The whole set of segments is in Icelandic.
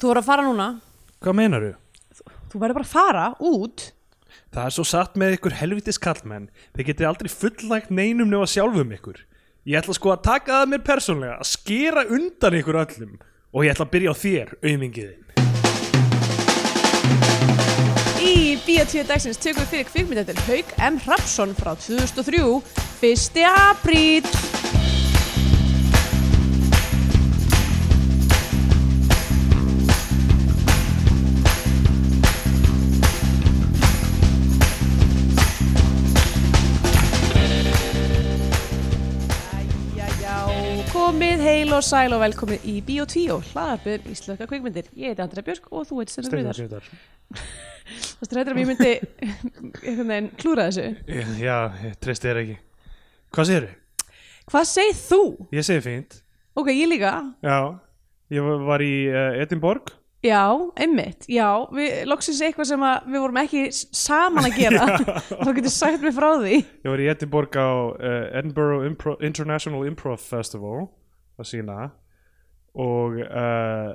Þú voru að fara núna Hvað meinaru? Þú verður bara að fara út Það er svo satt með ykkur helvitis kallmenn Þið getið aldrei fullnægt neinum nema sjálfum ykkur Ég ætla sko að taka það mér persónlega að skera undan ykkur öllum og ég ætla að byrja á þér, auðmingiðin Í Bíotvíu dagsins tökum við fyrir kvikmyndatil Hauk M. Rapsson frá 2003 1. apríl Jæja, já, komið heil og sæl og velkomið í Bíotvíu hlaðarpið um íslenska kvikmyndir Ég heiti Andrea Björk og þú heitir Stendur Viðar Það strættir að ég myndi einhvern veginn klúra þessu. Já, ég treysti þér ekki Hvað segirðu? Hvað segð þú? Ég segi fínt Ok, ég líka. Já, ég var í uh, Edinborg Já, einmitt. Já, við loksins eitthvað sem að við vorum ekki s- saman að gera. Þá getur sagt mér frá því. Ég var í Edinborg á uh, Edinburgh Impro International Improv Festival að sína og uh,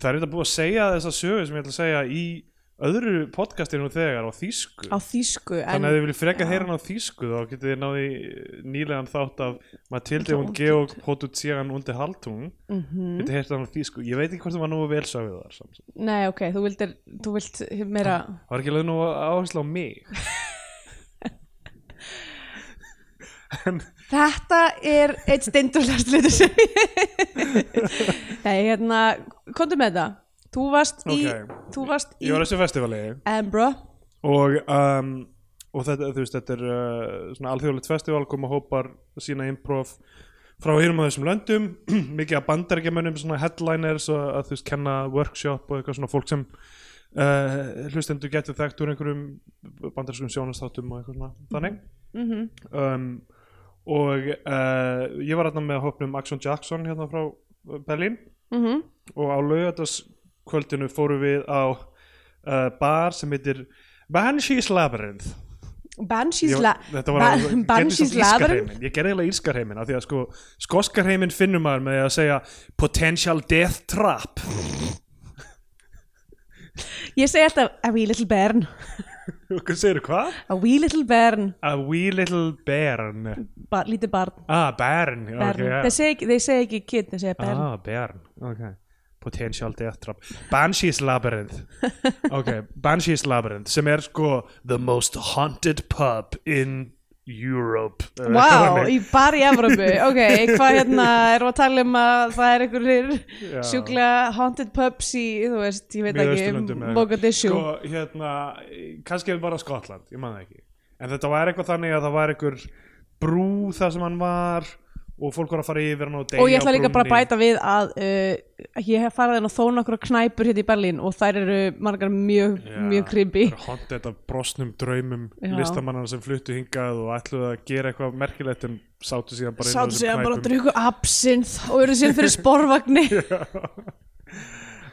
það er eitthvað búið að segja þessa sögu sem ég ætla að segja í öðru podcastinu nú þegar á þýsku Á þýsku, en þannig að þið viljið freka heyra hann á þýsku þá getið þið náði nýlegan þátt af Matilde und Georg Potutzian undi Haltung mm -hmm. getið heyrt hann á þýsku ég veit ekki hvort það var nú vel sögðu þar samt. nei, ok, þú, vildir, þú vilt meira... Það var ekki alveg nú áherslu á mig Þetta er eitt steindurlegast litur sem ég... nei, hérna, komdu með það. Þú varst í... Ok. Þú varst í... ég var á þessu festivali Embra. og, um, og þetta, þú veist, þetta er uh, svona alþjóðlegt festival koma hópar sína improv frá hinum á þessum löndum mikið af bandarækjamönnum, svona headliners og að þú veist, kenna workshop og eitthvað svona fólk sem uh, hlustendur getur þekkt úr einhverjum bandaræskum sjónastáttum og eitthvað svona þannig Mhm, um, og uh, ég var hérna með hópnum Axon Jackson hérna frá uh, Berlín Mhm. og á laugardagskvöldinu fórum við á uh, bar sem heitir Banshees Labyrinth Banshees Ég- La... þetta var alveg- ég gerði Banshees svolítið Labyrinth. írska hreiminn. ég gerði eiginlega írska hreiminn af því að sko skoska hreiminn finnum maður með því að segja potential death trap Ég segi alltaf a wee little bairn og hvað segir hvað? a wee little bairn, a wee little bairn ba lítið barn, ah bairn, bairn. ok yeah. Þeir segja ekki- þeir segja ekki kid, þeir segja bairn ah bairn, ok potential death trap Banshees Labyrinth ok, Banshees Labyrinth sem er sko the most haunted pub in Europe eða eitthvað Vá, þannig. í bar í Evrópu ok, hvað hérna, erum við að tala um að það er Já. einhverjir sjúkla haunted pubs í, þú veist, ég veit Miðausturlöndum ekki eða- Mogadishu, sko, hérna, kannski var það Skotland, ég man það ekki en þetta var eitthvað þannig að það var einhver brú þar sem hann var og fólk var að fara yfir hann og deyja og ég ætla á líka bara að brúnni. bæta við að uh, ég hef farið inn á þó nokkra knæpur hérna í Berlín og þær eru margar mjög, Já, mjög creepy það er Hondið af brosnum draumum Já. listamannar sem fluttu hingað og ætluðu að gera eitthvað merkilegt en sátu síðan bara inn á sátt þessum segja bara knæpum. að drugu absinth og eru síðan fyrir sporvagni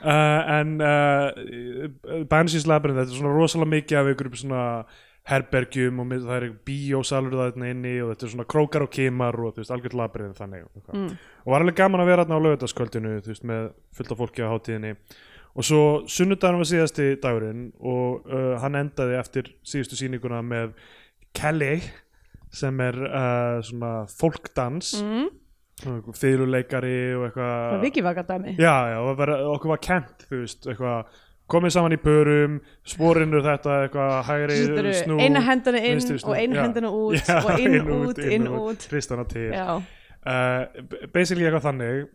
uh, en uh, Banshees Labyrinth þetta er svona rosalega mikið af einhverjum svona herbergjum og mynd- það er bíósalur þarna inni og þetta er svona krókar og kemar og þú veist, algjörð labyrinth þannig og, mm. og var alveg gaman að vera þarna á laugardagskvöldinu þú veist, með fullt af fólki á hátíðinni og svo sunnudagur var síðasti dagurinn og uh, hann endaði eftir síðustu sýninguna með Kelly sem er uh, svona fólkdans mm. fyluleikari það og eitthvað er vikið vakardæmi já, já, og vera, okkur var kent þú veist, eitthvað komið saman í pörum, sporinu þetta eitthvað hægri Þetta snú eru eina hendana inn vinstri snú, og eina já. hendana út Já, og inn, út, inn, út. hristana til Já. uh, b- basically eitthvað þannig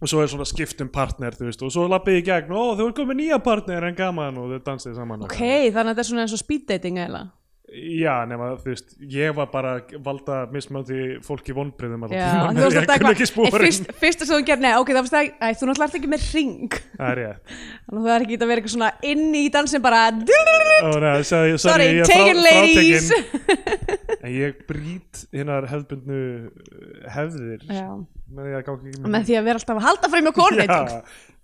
og svo er svona skipt um partner þú veist, og svo lappið í gegn, ó þau eru komið nýja partner en gaman og þau dansið saman Ok, þannig að þetta er svona eins og speed dating eða? Já, nema þú veist, ég var bara að valda mismöndi fólki vonbriðum Já, alltaf, þú varst ég alltaf kunni ekki eitthvað spórin Ei, fyrst, Fyrst að þú gerð, nei, ok, það varst ekki Æ, þú náttúrulega ert ekki með ring Það er ég Þannig að þú er ekki að vera eitthvað svona inn í dansin bara Ó, nei, sagði, Sorry, sorry, ég er take frá- it, ladies. frátekinn. En ég brýt hinnar hefðbundnu uh, hefðir Já, með því að ganga ekki með því að vera alltaf að halda frá mig konu Já,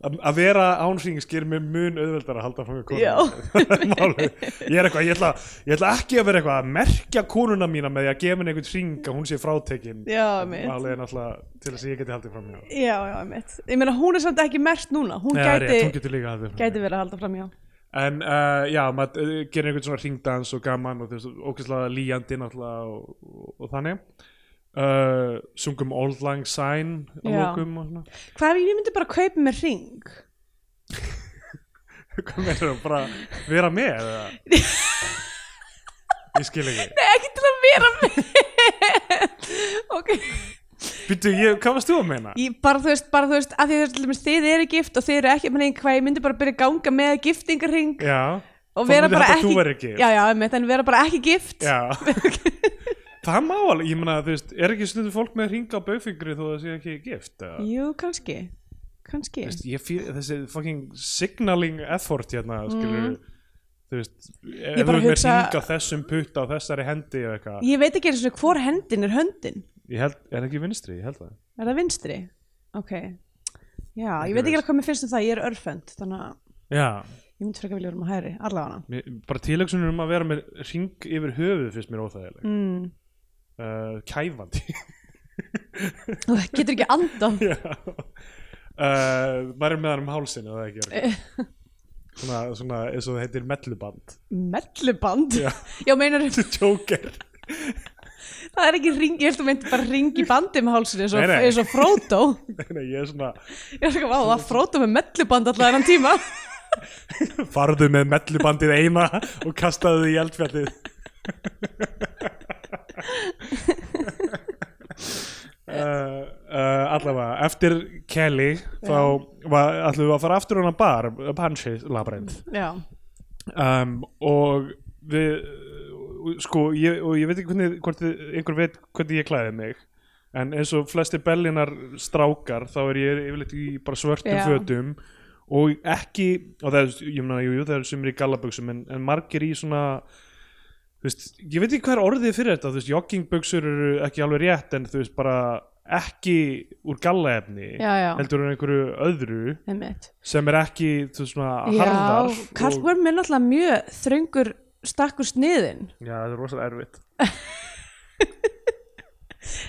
að að vera ánfringis gerir mér mun auðveldar að halda fram með Já. konuna ég er eitthvað, ég ætla, ég ætla ekki að vera eitthvað að merkja konuna mína með því að gefa henni einhvern hring að hún sé frátekin Já, einmitt. málið er náttúrulega til þess að ég geti haldið fram með já, já, mitt ég meina hún er samt ekki mert núna hún gæti, hún getur líka haldið fram gæti verið að halda fram hjá en uh, já, maður uh, gerir einhvern svona hringdans og gaman og þú veist, ókvæslega líjandi náttúrulega og, og, og þannig uh, sungum Old Lang Syne á Já. lókum og svona hvað ef ég myndi bara kaupa mér ring hvað meður það, bara vera með eða? ég skil ekki Nei, ekki til að vera með ok Býtu, ég, hvað varst þú að meina? ég, bara þú veist, bara þú veist að því að til dæmis þið eru gift og þið eru ekki meni, hvað ég myndi bara byrja að ganga með giftingarring Já, og Þá vera myndi bara þetta að ekki, þú værir gift. já, já, einmitt, en vera bara ekki gift já Það má alveg, ég meina, þú veist, er ekki stundum fólk með hringa á baufingri þó það sé ekki gift? eða? jú, kannski kannski Þú veist, Ég fýr, þessi fucking signaling effort hérna, skilur Þú veist, ef þú Mm. bara er með hugsa- hringa þessum putta og þessari hendi og eitthvað ég veit ekki eins og hvor hendin er höndin Ég held, er ekki vinstri, ég held það Er það vinstri? Ok. Já, ég Ekki veit ekki viss. alveg hvað mér finnst um það, ég er örfend, þannig að Já, ég myndi frekar vilja vera maður hægri, allavega hana. mér, bara tilöksunum um að vera með hring yfir höfuð finnst mér óþægileg Mm. uh, Kæfandi Og það getur ekki andan. Já uh, maður er með hann um hálsinn eða ekki Jörgur? svona, svona eins og það heitir melluband Melluband? Já, meinar, Joker það er ekki ring, ég held að meinti bara ring í bandi með hálsinu, eins og, Nei, nei. eins og Frodo. Nei, nei, ég er svona Ég er ekki, vá, það var Frodo með melluband allavega hennan tíma. farðu með mellubandið eina og kastaðu því í eldfjallið Uh, uh, allavega, eftir Kelly þá var, ætlum við að fara aftur á hana bar, Panshi labrend Já, um, og við uh, sko, ég, og ég veit ekki hvernig hvort þið, einhver veit hvernig ég klæði mig en eins og flesti bellinar strákar þá er ég yfirleitt í bara svörtum Já. fötum og ekki og það er, ég meina, jú, jú, það er sumir í gallabuxum en, en margir í svona þú veist, ég veit ekki hvað er orðið fyrir þetta þú veist, joggingbuxur eru ekki alveg rétt en þú veist, bara ekki úr gallaefni, já, já, heldur en einhverju öðru einmitt. sem er ekki, þú veist, svona harðar Já, Karlvorm er náttúrulega mjög þröngur stakkur sniðin. Já, það er rosalega erfitt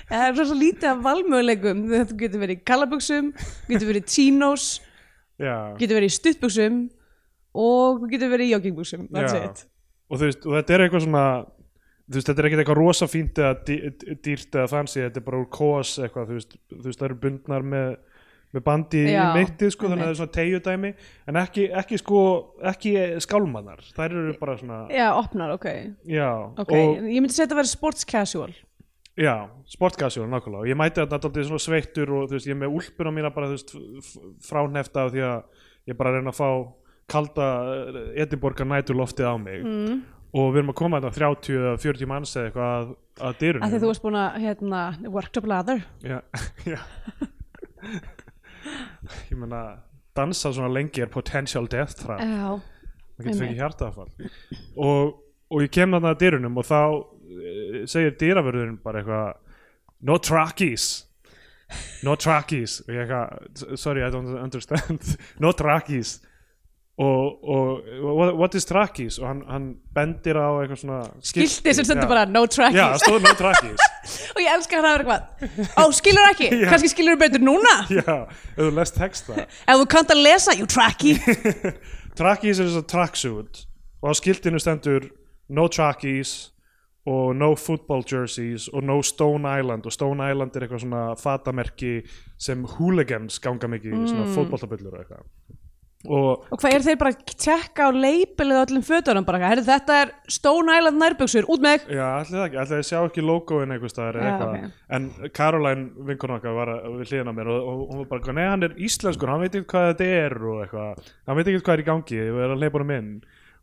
Það er rosa lítið af valmöguleikum. Þú getur verið í gallabuxum, getur verið í chinos, Já, getur verið í stuttbuxum og þú getur verið í joggingbuxum that's Já. it og þú veist, og þetta er eitthvað svona þú veist, þetta er ekkert eitthvað rosa fínt eða dý- dýrt eða fancy, þetta er bara úr kós eitthvað, þú veist, þú veist, það eru bundnar með með bandi í Já, mittið sko, þannig að einmitt. það er svona tegjudæmi en ekki, ekki sko, ekki skálmannar þær eru bara svona, já, opnar, ok, já okay. og, ég myndi segja þetta að vera sports casual já, sportgasjóla, nákvæmlega og ég mæti þetta alltaf svona sveittur og þú veist, ég er með úlpuna mína bara, þú veist, f- f- fránefta af því að ég er bara að reyna að fá kalda eh, Edinborgar næturloftið á mig mm. og við erum að koma þetta 30 eða 40 manns eða eitthvað að, að dyrunum að því þú varst búin að hérna, worked up leather já, já. ég meina dansa svona lengi er potential death trap já, maður getur einmitt. fengið hjartaðafall og, og ég kem þarna að dyrunum og þá eh, segir dýravörðurinn bara eitthvað no trackies no trackies og ég eitthvað sorry I don't understand no trackies og, og what, what is trackies og hann, hann bendir á eitthvað svona gildi sem Já. sendur bara no Já, trackies það stóð no trackies og ég elska hann að vera eitthvað ó, skilur ekki, kannski skilur betur núna Já, ef þú lest texta ef þú kannt að lesa, you trackie Trackies er þess að tracksuit og á skiltinu stendur no trackies og no football jerseys og no Stone Island og Stone Island er eitthvað svona fatamerki sem hooligans ganga mikið í svona fótballtabullur og eitthvað og og hvað er þeir bara að tjekka á leipilið á öllum fötunum bara, heyrðu, þetta er Stone Island nærbuxur, út með þig já, ætli það ekki, ætli að ég sjá ekki logoin einhvers staðar Já, eða eitthvað ok. en Caroline vinkona okkar var að- við hliðina á mér og, og hún var bara, nei hann er íslenskur hann veit ekki hvað þetta er og eitthvað hann veit ekki hvað er í gangi, við erum að leipa honum inn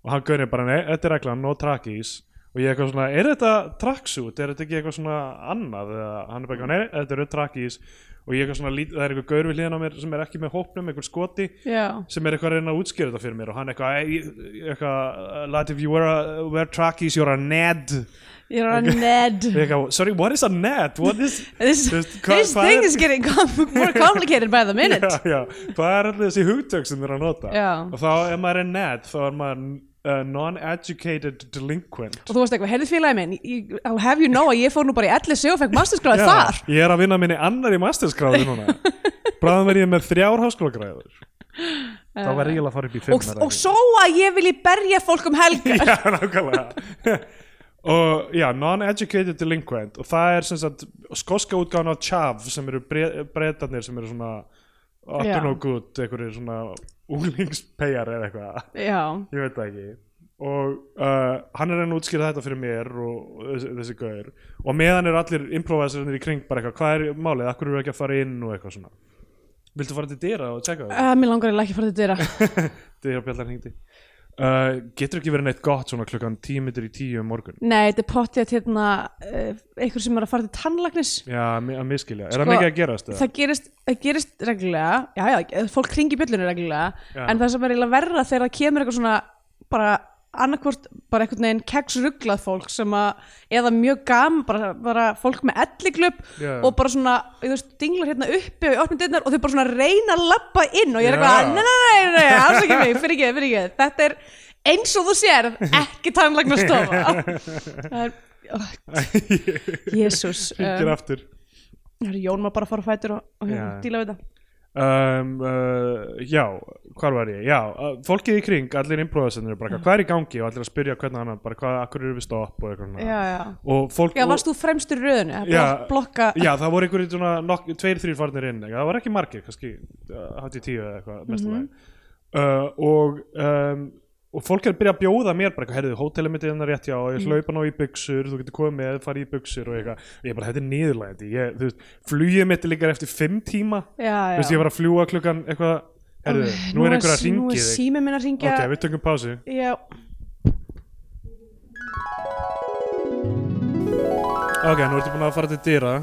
og hann gaurinn bara, nei, þetta er reglan, no trackies og ég eitthvað svona, er þetta tracksuit, er þetta ekki eitthvað svona annað, eða hann er bara, eitthvað, nei, þetta eru trackies og ég er eitthvað svona, lít- það er eitthvað gaur við hliðin á mér sem er ekki með hópnum, einhver skoti já, sem er eitthvað að reyna að útskýra þetta fyrir mér og hann eitthvað, "Æ, ég- eitthvað Latif, you wear, a, wear trackies, you're a ned ég er að ned Ég eitthvað, sorry, what is a ned? What is this, Þú veist, hvað- this hvað thing er- is getting com more complicated by the minute já, já, hvað er allir þessi hugtök sem þeir eru að nota Já. og þá ef maður er ned þá er maður uh, non-educated delinquent og þú veist eitthvað, heyrðu félagi minn ég- I'll have you know að ég fór nú bara í 11 og fekk masterskráði Já, þar ég er að vinna minni annar í mastersgráði núna bráðum verð ég með þrjár háskólagræður þá verð ég eiginlega að fara upp í fimm og, og svo að ég vilji berja fólk um helgar já, nákvæmlega og já, non-educated delinquent og það er sem sagt skoska útgáðan af Chav sem eru bre breytarnir sem eru svona up Já. and no good, einhverju svona úlingspeyjar eða eitthvað já, ég veit það ekki og uh, hann er enn að útskýra þetta fyrir mér og og þessi, þessi gauður og meðan er allir improviserinir í kring bara eitthvað, hvað er málið, akkur eru ekki að fara inn og eitthvað svona viltu fara til dyra og tjekka það? uh, mér langar eiginlega ekki að fara til dyra dyra bjallar hengdi uh, getur ekki verið neitt gott svona klukkan tímitur í tíu um morgun nei, þetta er pottið að hérna uh, einhver sem er að fara til tannlagnis já, mi- að miskilja, er Sko, það mikið að gerast? eða? það gerist, það gerist reglulega já, já, fólk kringi bjöllunni reglulega Já. en það sem er eiginlega verra þegar það kemur eitthvað svona bara annarkvort bara einhvern veginn kegsruglað fólk sem að eða mjög gam, bara, bara fólk með elliklub Já. og bara svona, þú veist, dinglar hérna uppi og opnum dyrnar og þau bara svona reyna að lappa inn og ég er Já. eitthvað, nei, nei, nei, nei, nei alls ekki mig, fyrir ekki, fyrir ekki, þetta er eins og þú sér, ekki tannlagna stofa það er oh, Jésús hringir aftur Herru, um, Jón maður bara að fara á fætur og, og hérna, Já. díla við þetta um, uh, já, hvar var ég já, uh, fólkið í kring, allir innbróðasendur Mm. bara, eitthvað, hvað er í gangi og allir að spyrja hvernig annan bara, hvað, akkur eru við stopp og eitthvað svona. Já, já og fólk Já, varst þú fremstur í röðinu að Já. blok- blokka já, það voru einhverjir svona nokk, tveir, þrýr farnir inn eitthvað. það var ekki margir, kannski uh, hátt í tíu eða eitthvað mm Mhm. uh, og um, og fólk er að byrja að bjóða mér bara, eitthvað, herðu, hótelið mitt er hérna rétt já, Mhm. ég hlaupa ná í buksur, þú getur komið með, farið í buksur og eitthvað, ég bara, þetta er niðurlægandi ég, þú veist, flugið mitt er líka eftir fimm tíma, Já, já þú veist, ég var að fljúa klukkan eitthvað, herðu, nú, er einhver að Nú er ringi þig sími minn að ringja ok, við tökum pásu Já, ok, nú ertu búin að fara til dyra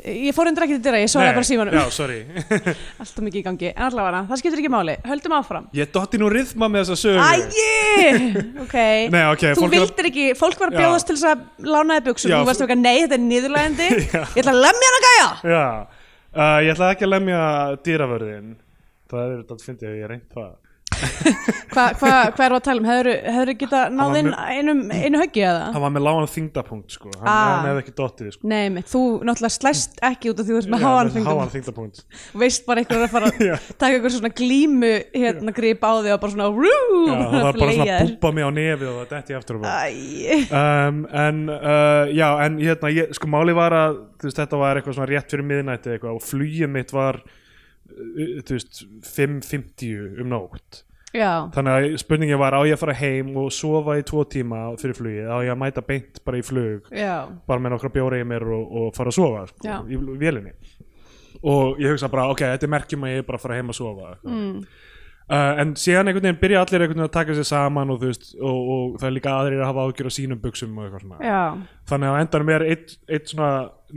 ég fór undir ekki til dyra, ég svaraði bara símanum já, sorry Alltaf mikið í gangi, en allavega það skiptir ekki máli Höldum áfram ég dotti nú rithma með þessa sögu Æi, ok Nei, ok, Þú fólk er að- vildir ekki, fólk var að Já. bjóðast til þess að lánaði buksum, Já, þú varst fólk- eitthvað, nei, þetta er niðurlægandi Já. Ég ætla að lemja hana gæja Já, uh, ég ætlaði ekki að lemja dýravörðin Það er þetta fyndið að ég reynd það Ah. Hvað hva, hva er að tala um, hefur, hefur geta var náðinn mjög- einum, einu höggi eða? Hann var með lágan þingdapunkt sko Hann, Ah. hann hefði ekki dottið sko Nei, mitt, þú náttúrulega slæst ekki út af því þú ert með Já, háan háan þingum þingdapunkt veist bara einhver er að fara Já. að taka einhver svona glímu hérna grip á því og bara svona rú, Já, hann var bara svona að fleygja þér. búpa mig á nefið og þetta ég Ah. aftur á búpa Æ, um, En uh, já, en hérna ég, sko máli var að þú veist, þetta var eitthvað svona rétt fyrir miðnætti eitthvað og flugið mitt var uh, þú veist, 5.50 um nótt Já, Þannig að spurningin var á ég að fara heim og sofa í tvo tíma fyrir flugið á ég að mæta beint bara í flug já, bara með nokkra bjóra í mér og, og fara að sofa sko, Já. í vélinni og ég hugsa bara, ok, þetta er merkjum að ég er bara að fara heim að sofa mm. uh, en síðan einhvern veginn byrja allir einhvern veginn að taka sér saman og, þú veist, og, og það er líka aðrir að hafa ágjur á sínum buksum og eitthvað svona já þannig að á endanum er eitt, eitt svona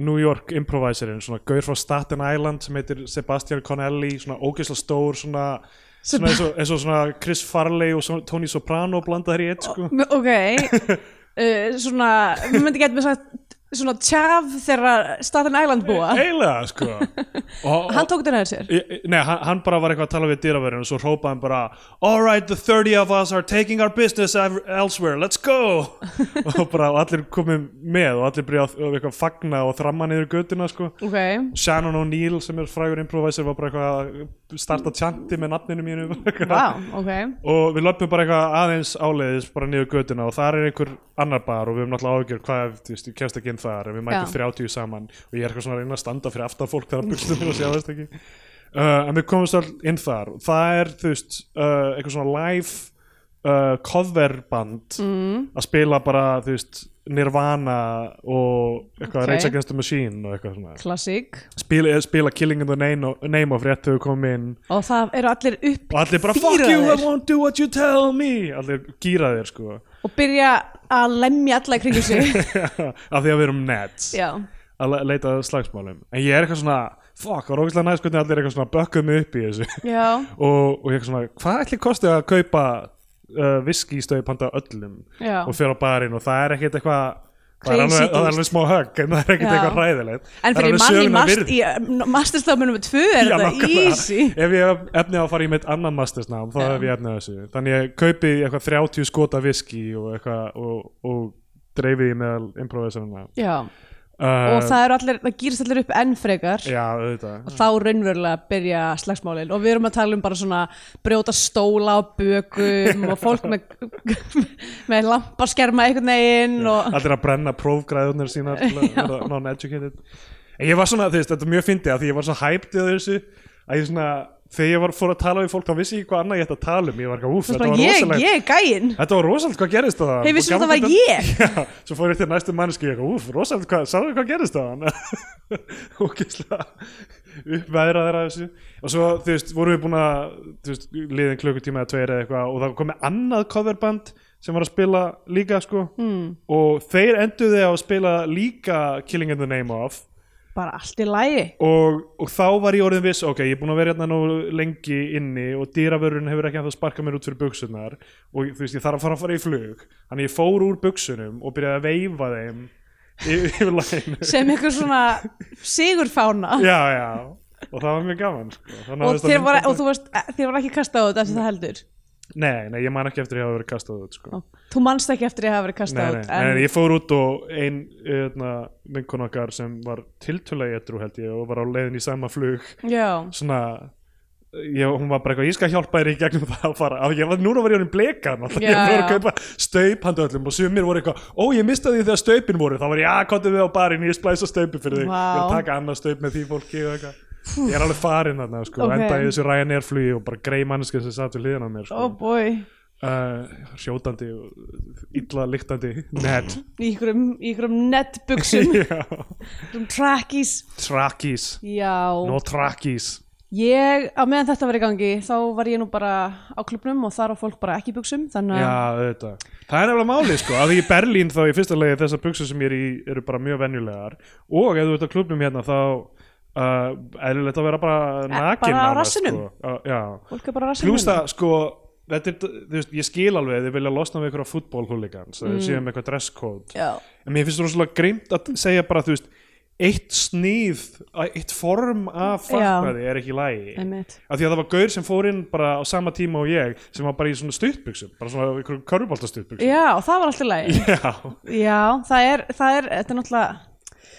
New York improviserinn, svona gaur frá Staten Island sem heitir Sebastian Connelly svona ógeðslega stór, svona Svona eins, og, eins og svona Chris Farley og svona Tony Soprano blandað þær í eitt sko. M- Ok, uh, svona, mér myndi geta mér sagt svona tjaf þegar Staten Island búa eiginlega sko og, Hann tók þetta neður sér Ég- ég- Nei, hann, hann bara var eitthvað að tala við dýravörðin og svo hrópaði hann bara All right, the 30 of us are taking our business ev- elsewhere, let's go og bara og allir komið með og allir byrjaði að- að eitthvað fagna og þramma niður götuna sko Ok, Shannon O'Neill sem er frægur improviser var bara eitthvað að starta tjanti með nafninu mínu bara eitthvað. vá, ok og við löpum bara eitthvað aðeins áleiðis bara niður götuna og þar er einhver annar bar og við höfum náttúrulega áhugjör hvað ef, þú veist, ég kemst ekki inn þar en við mætum Já. 30 saman og ég er eitthvað svona að reyna að standa fyrir aftan fólk þegar bukstum og sjá þess ekki uh, en við komumst all inn þar og það er þú veist uh, eitthvað svona live uh, coverband mm. að spila bara þú veist Nirvana og Ok. eitthvað Rage Against the Machine og eitthvað svona Klassik spila, spila Killing in the Name, name of rétt þegar við komum inn Og það eru allir upp og allir bara Fýra fuck you, I þeir." won't do what you tell me allir gýraðir sko og byrja að lemja alla í kringum sig af því að við erum nets Já, að le- leita að slagsmálum en ég er eitthvað svona, fuck, var ógæslega næst hvernig allir eitthvað svona bökkuð mig upp í þessu já, og, og ég eitthvað svona, hvað ætli kostið að kaupa uh, viskistöði panta öllum já, og fyrir á barinn og það er ekkert eitthvað það er Crazy alveg, það er dýrt. alveg smá högg en það er ekkert Já. eitthvað ræðilegt en fyrir manni mast, í masterstofnum með tvö er Já, þetta nákvæmlega. easy ef ég hef efni á að fara í mitt annan mastersnám þá Já. hef ég efni á þessu þannig ég kaupi eitthvað 30 skota viski og eitthvað og, og dreifið í meðal improviseruna já, uh, og það eru allir, það gýrst allir upp enn frekar já, auðvitað og þá raunverulega byrja slagsmálin og við erum að tala um bara svona brjóta stóla á bökum og fólk með, með lampaskerma einhvern veginn og allir að brenna prófgræðunar sína til að Já. verða non-educated en ég var svona, þú veist, þetta er mjög fyndið að því ég var svona hyped yfir þessu að ég svona, þegar ég var fór að tala við fólk þá vissi ég ekki hvað annað ég ætti að tala um ég var eitthvað, úf, þú veist þetta bara var ég, rosalegt ég er gæinn Þetta var rosalegt hvað gerist það Hey, vissirðu að það var ég? Já, svo fór ég til næstu manneski og úf, rosalegt hvað, sagðu hvað gerist það Ógislega uppveðra þeirra þessu og svo, þú veist, vorum við búin að þú veist, liðin klukkutíma eða tveir eða eitthvað og það komi annað coverband sem var að spila líka sko mm. Hmm. og þeir enduði á að spila líka Killing in the Name of bara allt í lægi og, og þá var ég orðin viss ok, ég er búin að vera hérna nú lengi inni og dýravörun hefur ekki að sparka mér út fyrir buksunar og þú veist, ég þarf að fara að fara í flug þannig ég fór úr buksunum og byrjaði að veifa þeim yfir, yfir læginu sem einhver svona sigurfána já, já, og það var mjög gaman sko. Það og, náðist að þér var, mynda- og þú varst, eh, þér var ekki kastað á þetta eftir það heldur nei, nei, ég man ekki eftir að ég hafa verið kastað út Ó, sko. þú manst ekki eftir að hafa verið nei, kastað nei, út en... nei, ég fór út og ein hérna, vinkun okkar sem var tiltölega ég held ég og var á leiðin í sama flug já, svona ég, hún var bara eitthvað, ég skal hjálpa þér í gegnum það að fara, af ég var, núna var ég orðin blekan alltaf, ég Já, var að já. kaupa staup handa öllum og sumir voru eitthvað, ó ég mistaði því þegar staupin voru, þá var ég, já, kottu við á barinn ég splæsa staupi fyrir þig, ég var Vá. að taka annað staup með því fólki og eitthvað ég er alveg farinn þarna, sko, Ok. okay. enda í þessu Ryanair flugi og bara grei manneskið sem satt við hliðan á mér sko. oh boy uh, sjótandi og illa lyktandi net, í ykkurum, í ykkurum nettbuksum já ykkurum trackies trakkies, já, no trakkies ég, á meðan þetta var í gangi þá var ég nú bara á klubnum og þar á fólk bara ekki í buksum þannig að Já, auðvitað. Það er nefnilega máli, sko, að í Berlín þá í fyrsta lagi þessar buksur sem ég er í eru bara mjög venjulegar og ef þú ert á klubnum hérna þá uh, eðlilegt að vera bara nakin Eh, bara á nánast, rassinum. Sko. Uh, já, fólk er bara um. rassinum pluss það, sko, þetta er, þú veist, ég skil alveg að þið vilja losna við einhverja fútbólhúligans, mm. þau séum eitthvað dresscode. já, En mér finnst það rosalega greimt að segja bara, þú veist, eitt sníð, eitt form af Já. fatnaði er ekki í lagi einmitt af því að það var gaur sem fór inn bara á sama tíma og ég sem var bara í svona stuttbuksum bara svona ykkur körfubolta stuttbuksum já, og það var alltaf lægi já, já, það er, það er, þetta er náttúrulega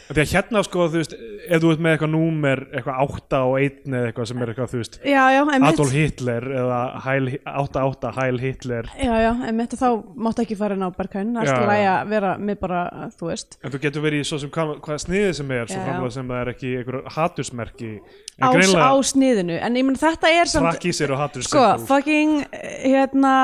af því að hérna sko þú veist ef þú ert með eitthvað númer eitthvað 8 og 1 eða eitthvað sem er eitthvað þú veist já, já, einmitt Adolf Hitler eða Heil, 88 Heil Hitler Já, já, einmitt og þá máttu ekki fara inn á berghæn Það er Já, alltaf já. læg að vera með bara, þú veist en þú getur verið í svo sem hvað, hvað sniðið sem er Já, svo já. framlega sem það er ekki einhver hatursmerki en Ás, greinlega á sniðinu, en ég mun þetta er samt trakkís eru hatursmerki Sko, fucking, eh, hérna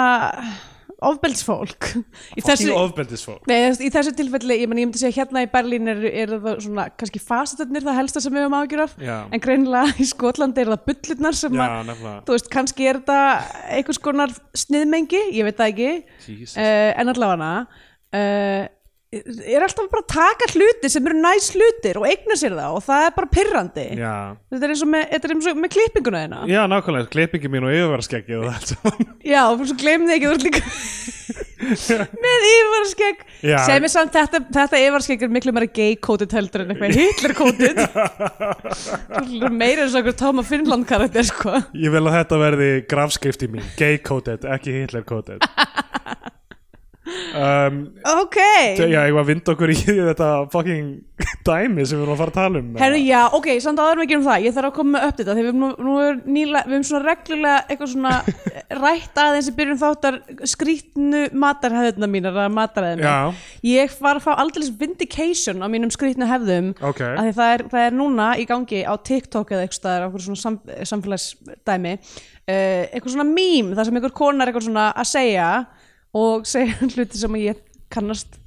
ofbeldsfólk Í þessu, ofbeldisfólk nei, þú veist, í þessu tilfelli, ég, meni, ég myndi segja hérna í Berlín er, er það svona, kannski fasetarnir það helsta sem við höfum ágjur af Já. En greinilega í Skotlandi er það bullurnar sem já, að, nefnilega þú veist, kannski er þetta einhvers konar sniðmengi, ég veit það ekki Jesus. uh, en allavega uh, er alltaf bara að taka hluti sem eru næs hlutir og eigna sér það og það er bara pyrrandi já, þetta er eins og með, þetta er eins og með klippinguna þina já, nákvæmlega, klippingi mín og yfirverðskeggið og allt saman já, og svo glemði ekki þú ert líka með yfarskegg Já. sem er samt þetta, þetta yfarskegg er miklu meira gay-kótið heldur en eitthvað Hitler-kótið Þú er meira eins og okkur Tóma Finnland karakter sko. Ég vil að þetta verði grafskrifti mín Gay-coded, ekki Hitler-coded um, ok t- Já, ég var að vinda okkur í þetta fucking dæmi sem við erum að fara að tala um Herru, já, ok, samt áður en við gerum það, ég þarf að koma með uppdita þegar við erum nú, nú er nýla, við erum svona reglulega eitthvað svona rætt aðeins í byrjun þáttar skrýtnu matarhefðina mínar, að mataræðinu. Já. Ég var að fá aldrei vindication á mínum skrýtnu hefðum Ok. af því það er, það er núna í gangi á TikTok eða eitthvað staðar, á okkur svona sam, samfélagsdæmi, uh, eitthvað svona mím, þar sem einhver konar eitthvað svona að segja og segja hluti sem ég kannast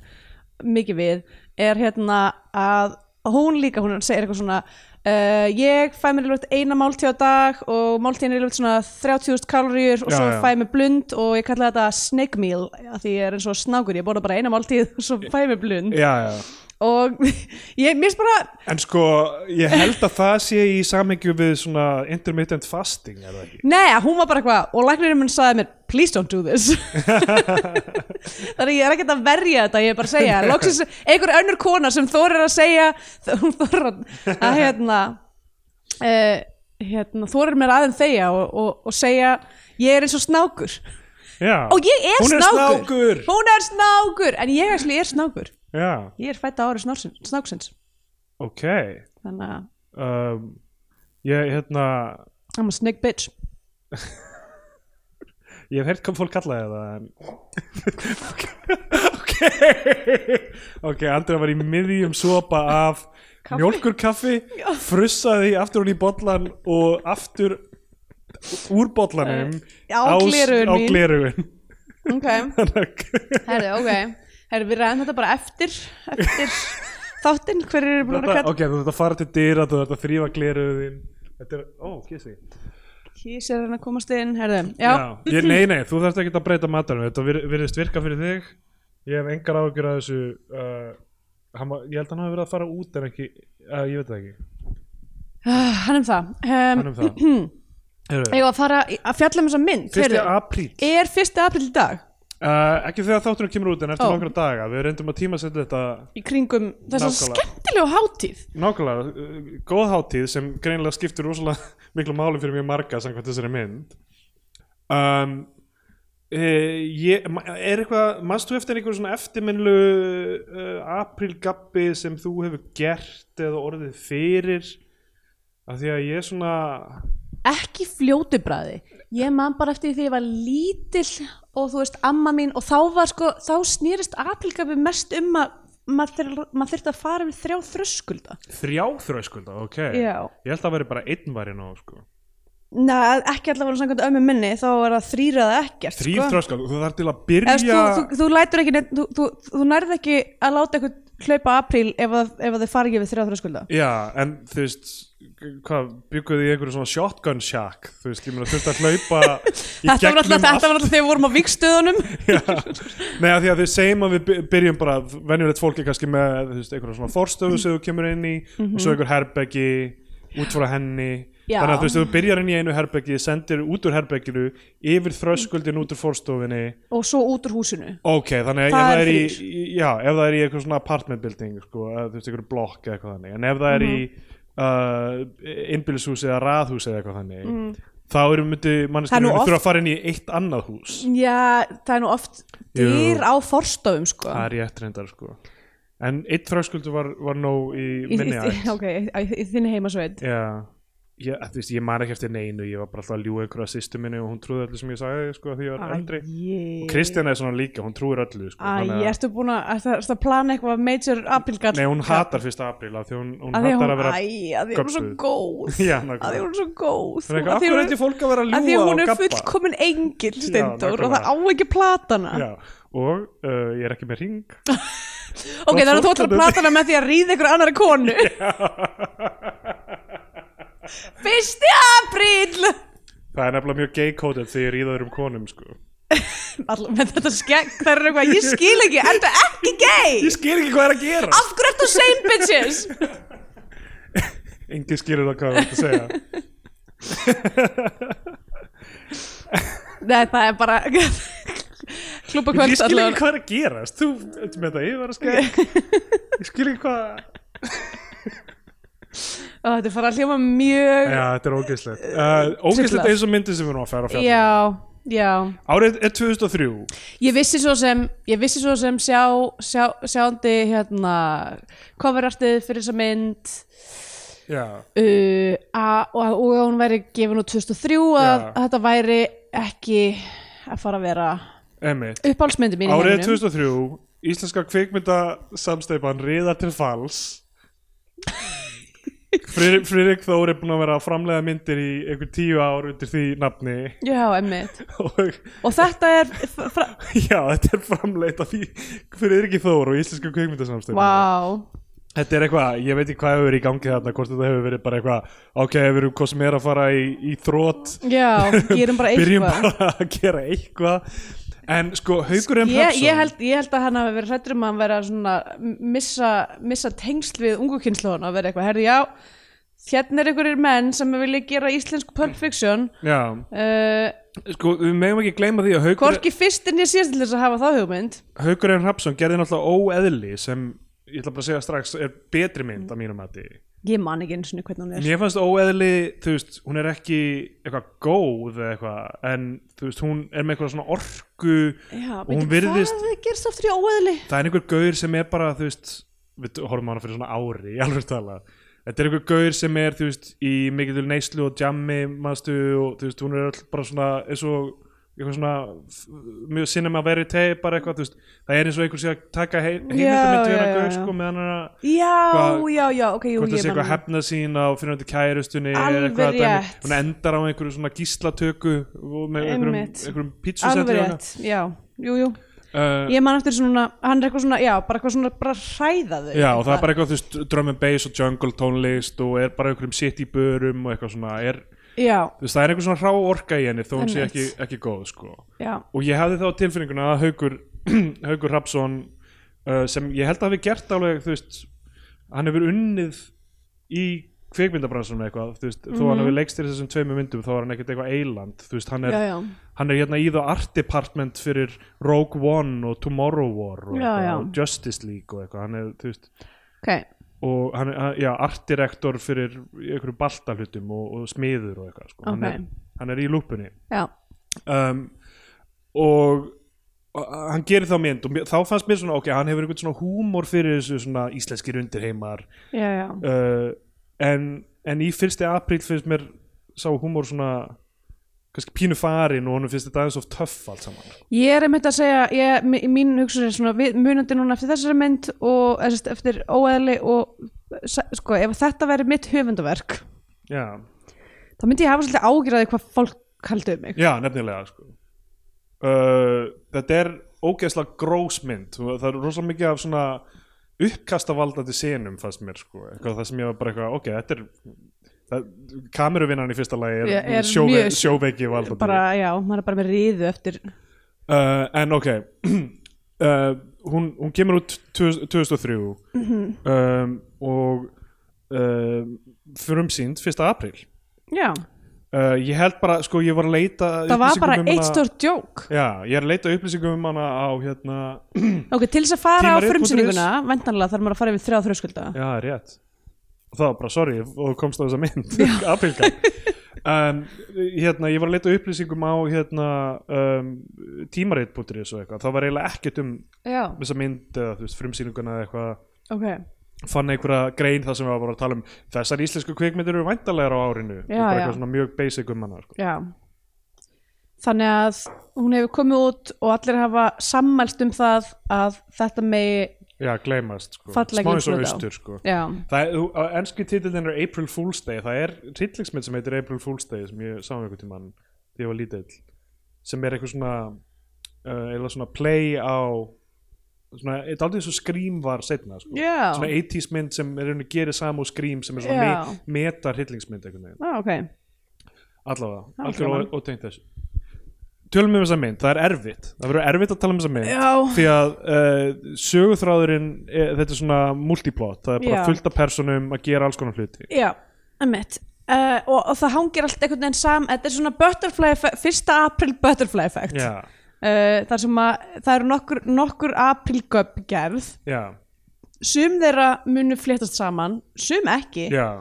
mikið við er hérna að hún líka, hún segir eitthvað svona uh, ég fæ mér alveg eina máltíð á dag og máltíðin er alveg svona 30.000 kaloríur og Já, svo já. fæ ég mér blund og ég kalla þetta snake meal af því ég er eins og snákur, ég borða bara eina máltíð og svo fæ ég mér blund Já, já, og ég, mér finnst bara En sko, ég held að það sé í samhengju við svona intermittent fasting, er það ekki? Nei, hún var bara eitthvað og læknirinn minn sagði mér please don't do this þannig að ég er ekkert að verja þetta ég er bara að segja loksins einhver önnur kona sem þorir að segja hún þorir að, að hérna uh, hérna þorir mér aðeins þegja og, og, og segja ég er eins og snákur Já. og ég er, Hún er snákur. snákur! hún er snákur en ég actually er snákur Já, ég er fætt á ári snáksins, snáksins. ok. þannig að Um, ég, hérna, I'm a snake bitch ég hef heyrt hvað fólk kallaði það, en... ok, ok, Andra var í miðjum sopa af Kaffi. mjólkurkaffi, frussaði aftur hún í bollan og aftur úr bollanum Já, Eh, á gleraugun á mín. glerugun. ok Herðu, ok. Herðu, við ræðum þetta bara eftir, eftir þáttinn, hver eru búin að Þetta, kalla. ok, þú ert að fara til dyra, þú ert að þrýfa gleruðin Þetta er, ó, kissi Kís er hann að komast inn, herðu. Já, Ég, Nei, nei, þú þarft ekki að breyta matanum Þetta vir- virðist virka fyrir þig Ég hef engar ágjur að þessu uh, hann, var- Ég held að hann hafi verið að fara út en ekki, uh, ég veit það ekki Ah, hann um það. Um, Hann um það Heyrðu, Ég var að fara í- að fjalla um þessa mynd. Fyrsti heyrðu. apríl uh, Er fyrsti april í dag? Ekki þegar þáttunum kemur út en eftir Ó. nokkra daga Við reyndum að tíma þetta Í kringum þessa Nákvæmlega. skemmtilegu hátíð. Nákvæmlega, uh, góð hátíð sem greinilega skiptir rosalega miklu máli fyrir mjög marga samkvæmt þessari mynd um, e, ég, ma- Er eitthvað, manst þú eftir einhverjum svona eftirminnlu uh, aprilgabbi sem þú hefur gert eða orðið fyrir af því að ég er svona Ekki fljótu bræði. Ég man bara eftir því ég var lítill og þú veist, amma mín og þá var sko, þá snýrist aprilgafi mest um að maður þyr- maður þurfti að fara við þrjá þröskulda. þrjáþröskulda, ok Já. Ég held að veri bara einn var ég nóg sko. Nei, ekki allavega samkvæmt ömmu minni, þá var það þrýr eða ekkert Þrýr sko. þröskuld, þú þarf til að Eða, þú, byrja þú, þú lætur ekki, neitt, þú, þú, þú nærð ekki að láta eitthvað hlaupa apríl ef, að, ef að þið fara ekki við þrjá þröskulda Já, en þú veist hvað, bygguðu í einhverju svona shotgun shack þú veist, ég meina þurfti að hlaupa í Þetta var alltaf gegnum þetta var alltaf þegar við vorum á vikstöðunum Já. Nei, að því að við segjum að við by- byrjum bara, venjulegt fólk er kannski með þú veist, einhverja svona forstöðu sem þú kemur inn í og svo einhver herbeggi út frá henni Mhm. Já. þannig að þú veist, þú byrjar inn í einu herbeggi sendir út úr herbegginu, yfir þröskuldin út úr forstofinni og svo út úr húsinu Ok, þannig að ef Það það er er í, í- já, ef það er í eitthvað svona apartment building, sko, eða, þú veist, eitthvað blokk eða eitthvað þannig, en ef það er Mhm. í uh, innbýlishús eða raðhús eða eitthvað þannig, þá erum myndi Mm. Það er manneskinu nú oft... oft- þurfa að fara inn í eitt annað hús. Já, það er nú oft Jú. dýr á forstöðum sko Það er ég eftir reyndar, sko. En eitt þröskuldu var, var nóg í Í- minni í- aðeins. Ok, í- í- í þinni heimasveit Já, ég, að, þú veist, ég man ekki eftir neinu, ég var bara alltaf að ljúga einhverju að sýstu minni og hún trúði öllu sem ég sagði, sko, því ég var eldri. Æ, Kristjana er svona líka, hún trúir öllu, sko. þannig Æ, að- ertu búin að, ertu- ertu að plana eitthvað major aprilgall Nei, hún hatar fyrsta apríl af því hún, hún að því hatar hún, að vera æ, að því hún er svo göbbuð. góð Já, að því nákvæmlega. hún er svo góð Það er eitthvað, Að því akkur hún- ætti fólk að vera að að því ljúga hún og er gappa fullkomin engil Steindór og það á nákvæmlega. ekki platana Já, og uh, ég er ekki með ring ok, þannig að þú ætlar að platana með því að ríða ykkur annari konu fyrsti apríl Það er nefnilega mjög gay-coded þegar ég ríðaður um konum sko. Alla, með þetta skegg, það er eitthvað ég skil ekki, er þetta ekki gay Ég skil ekki hvað er að gera af hverju ertu same bitches Engi skilur það hvað það er að segja nei, það er bara klúpa kvöld Ég skil ekki allavega hvað er að gera Þú ert með þetta, ég var að skilja Ég skil ekki hvað Ó, þetta er fara að hljóma mjög Já, þetta er ógæslegt uh, Ógæslegt Truflað. eins og myndin sem við erum að færa á fjall já, já Árið er 2003 Ég vissi svo sem, ég vissi svo sem sjá, sjá, sjándi hérna coverartið fyrir þessa mynd Já, uh, a, og, að- og að hún væri gefin úr 2003 að, Já. að þetta væri ekki að fara að vera emmitt uppálsmyndi mín Árið er 2003 Íslenska kvikmyndasamsteipan riðar til fals Friðrik Friðrik Þór er búin að vera að framlega myndir í einhver tíu ár undir því nafni Já, emmitt. og Og þetta er, f- fra, já, þetta er framleitt af því Friðrik Þór og Íslenska kvikmyndasamsteipan vá, Þetta er eitthvað, ég veit ekki hvað hefur verið í gangi þarna hvort þetta hefur verið bara eitthvað ok, við erum hvað sem er að fara í, í þrótt já, gerum bara byrjum eitthvað. bara að gera eitthvað en sko Haugur M. Ég, Hrafnsson ég, held, ég held að hann hafi verið hrættur um að hann vera svona missa, missa tengsl við ungu kynnslóðan og vera eitthvað, herri já hérna er einhverjir menn sem vilja gera íslensku Mm. Pulp Fiction já, uh, sko við megum ekki gleyma því að Haugur, hvorki fyrst en ég síðast til þess að hafa þá hugmynd Haugur M. Hrafnsson gerði náttúrulega óeðli sem ég ætla bara að segja strax er betri mynd að mínum mati ég man ekki einu sinni hvernig hún er Mér fannst óeðli, þú veist, hún er ekki eitthvað góð eða eitthvað en þú veist, hún er með eitthvað svona orku já, og hún virðist, hvað gerst aftur í óeðli það er einhver gaur sem er bara, þú veist, við horfum á hana fyrir svona ári, ég alveg tala Þetta er einhver gaur sem er, þú veist, í mikið neyslu og jammi, maðurstu og þú veist, hún er öll bara svona eins og eitthvað svona f- mjög sinema verið tegi bara eitthvað, þú veist það er eins og einhver sé að taka hei- heimildamynd við já, hana já, gaur, já. sko, með hann að já, Hvað- já, já, ok, jú, ég hvort það sé man eitthvað það. hefna sín á fyrirhandi kærustunni eða Alveg eitthvað að dæmi. rétt. hún endar á einhverju svona gíslatöku og með einhverjum, Einmitt. einhverjum alveg pítsusetti rétt, já, jú, jú uh, ég man eftir svona, hann er eitthvað svona já, bara eitthvað svona, bara hræðaðu já og það er bara eitthvað þú veist drum and bass og jungle tónlist og er bara einhverjum sitt í börum og eitthvað svona er, já, þú veist, það er einhver svona hrá orka í henni þó hún sé Einmitt. ekki, ekki góð sko já, og ég hafði þá á tilfinninguna að Haugur Haugur Rapsson uh, sem ég held að hafi gert alveg þú veist, hann hefur unnið í kvikmyndabransunum eitthvað þú veist, þó hann Mhm. hefur leikst í þessum tveimu myndum þá er hann ekkert eitthvað eiland þú veist, hann, er, já, já hann er hérna í þá art department fyrir Rogue One og Tomorrow War og, Já, eitthvað, já. og Justice League og eitthvað hann er, þú veist, ok, og hann er já, artdirektor fyrir einhverju baltahlutum og, og smiður og eitthvað sko. hann, Ok. er, hann er í lúpunni já, um, og uh, hann gerir þá mynd og mér- þá fannst mér svona, ok, hann hefur einhvern svona húmor fyrir þessu svona íslenskir undirheimar já, já uh, en, en í fyrsti apríl finnst mér sá húmor svona kannski pínu farin og honum finnst þetta aðeins of töff allt saman sko. Ég er einmitt að segja, ég, mi- mín hugsun er svona við, munandi núna eftir þessari mynd og eða sem sagt, eftir óeðli og sa- sko, ef þetta væri mitt höfundaverk já, þá myndi ég hafa svolítið ágjörði hvað fólk haldi um mig. já, nefnilega sko. uh, þetta er ógeðslega grósmynd það er rosalega mikið af svona uppkastavaldandi senum fannst mér sko. eitthvað það sem ég var bara eitthvað, ok, þetta er það, kameruvinnan í fyrsta lagi er, Já, er sjóve, mjög- sjóveiki valdandi Bara, já, maður er bara með ríðu eftir uh, en ok uh, hún, hún kemur út 2000 2003 Mhm. um, og uh, frumsýnd 1. apríl Já, uh, ég held bara, sko, ég var að leita það var bara upplýsingum um eitt hana- stórt djók. Já, ég er að leita að upplýsingum um hana á hérna Ok, til þess að fara á Tímarit.is. frumsýninguna vendanlega þarf maður að fara yfir þrjá þröskulda. Já, rétt Og Það var bara, sorry, og komst á þessa mynd Apilka um, Hérna, ég var að leita að upplýsingum á hérna um, tímarit.is og eitthvað Það var eiginlega ekkert um Já, þessa mynd eða þú veist, frumsýninguna eða eitthvað ok. fann einhverja grein það sem við varum að tala um þessar íslensku kvikmyndir eru væntalegar á árinu Já, bara já. eitthvað svona mjög basic um hana sko. Já. Þannig að hún hefur komið út og allir hafa sammælst um það að þetta megi, Já, gleymast sko. Falla ekki Smá eins og hluta á. austur sko. já, Það er, þú- á ennski titillin er April Fool's Day það er rillingsmynd sem heitir April Fool's Day sem ég sá um einhvern tímann þegar ég var lítill sem er eitthvað svona uh, eða svona play á svona, þetta er aldrei eins og Scream var setna sko. Já. svona 80s mynd sem er einhvern gerir saman og Scream sem er svona Já. me, meta rillingsmynd einhvern veginn, ah, ok. allavega, Já, algjörlega gaman. og tengt þessu Tölum við um þessa mynd, það er erfitt það verður erfitt að tala um þessa mynd Já. því að uh, söguþráðurinn er, þetta er svona multiplot, það er bara Já. fullt af personum að gera alls konar hluti Já, emmett uh, og, og það hangir allt einhvern veginn sam þetta er svona butterfly effect, fyrsta april butterfly effect uh, já, þar sem að það eru nokkur, nokkur aprilgöp gerð, já, sum þeirra munu fléttast saman, sum ekki já.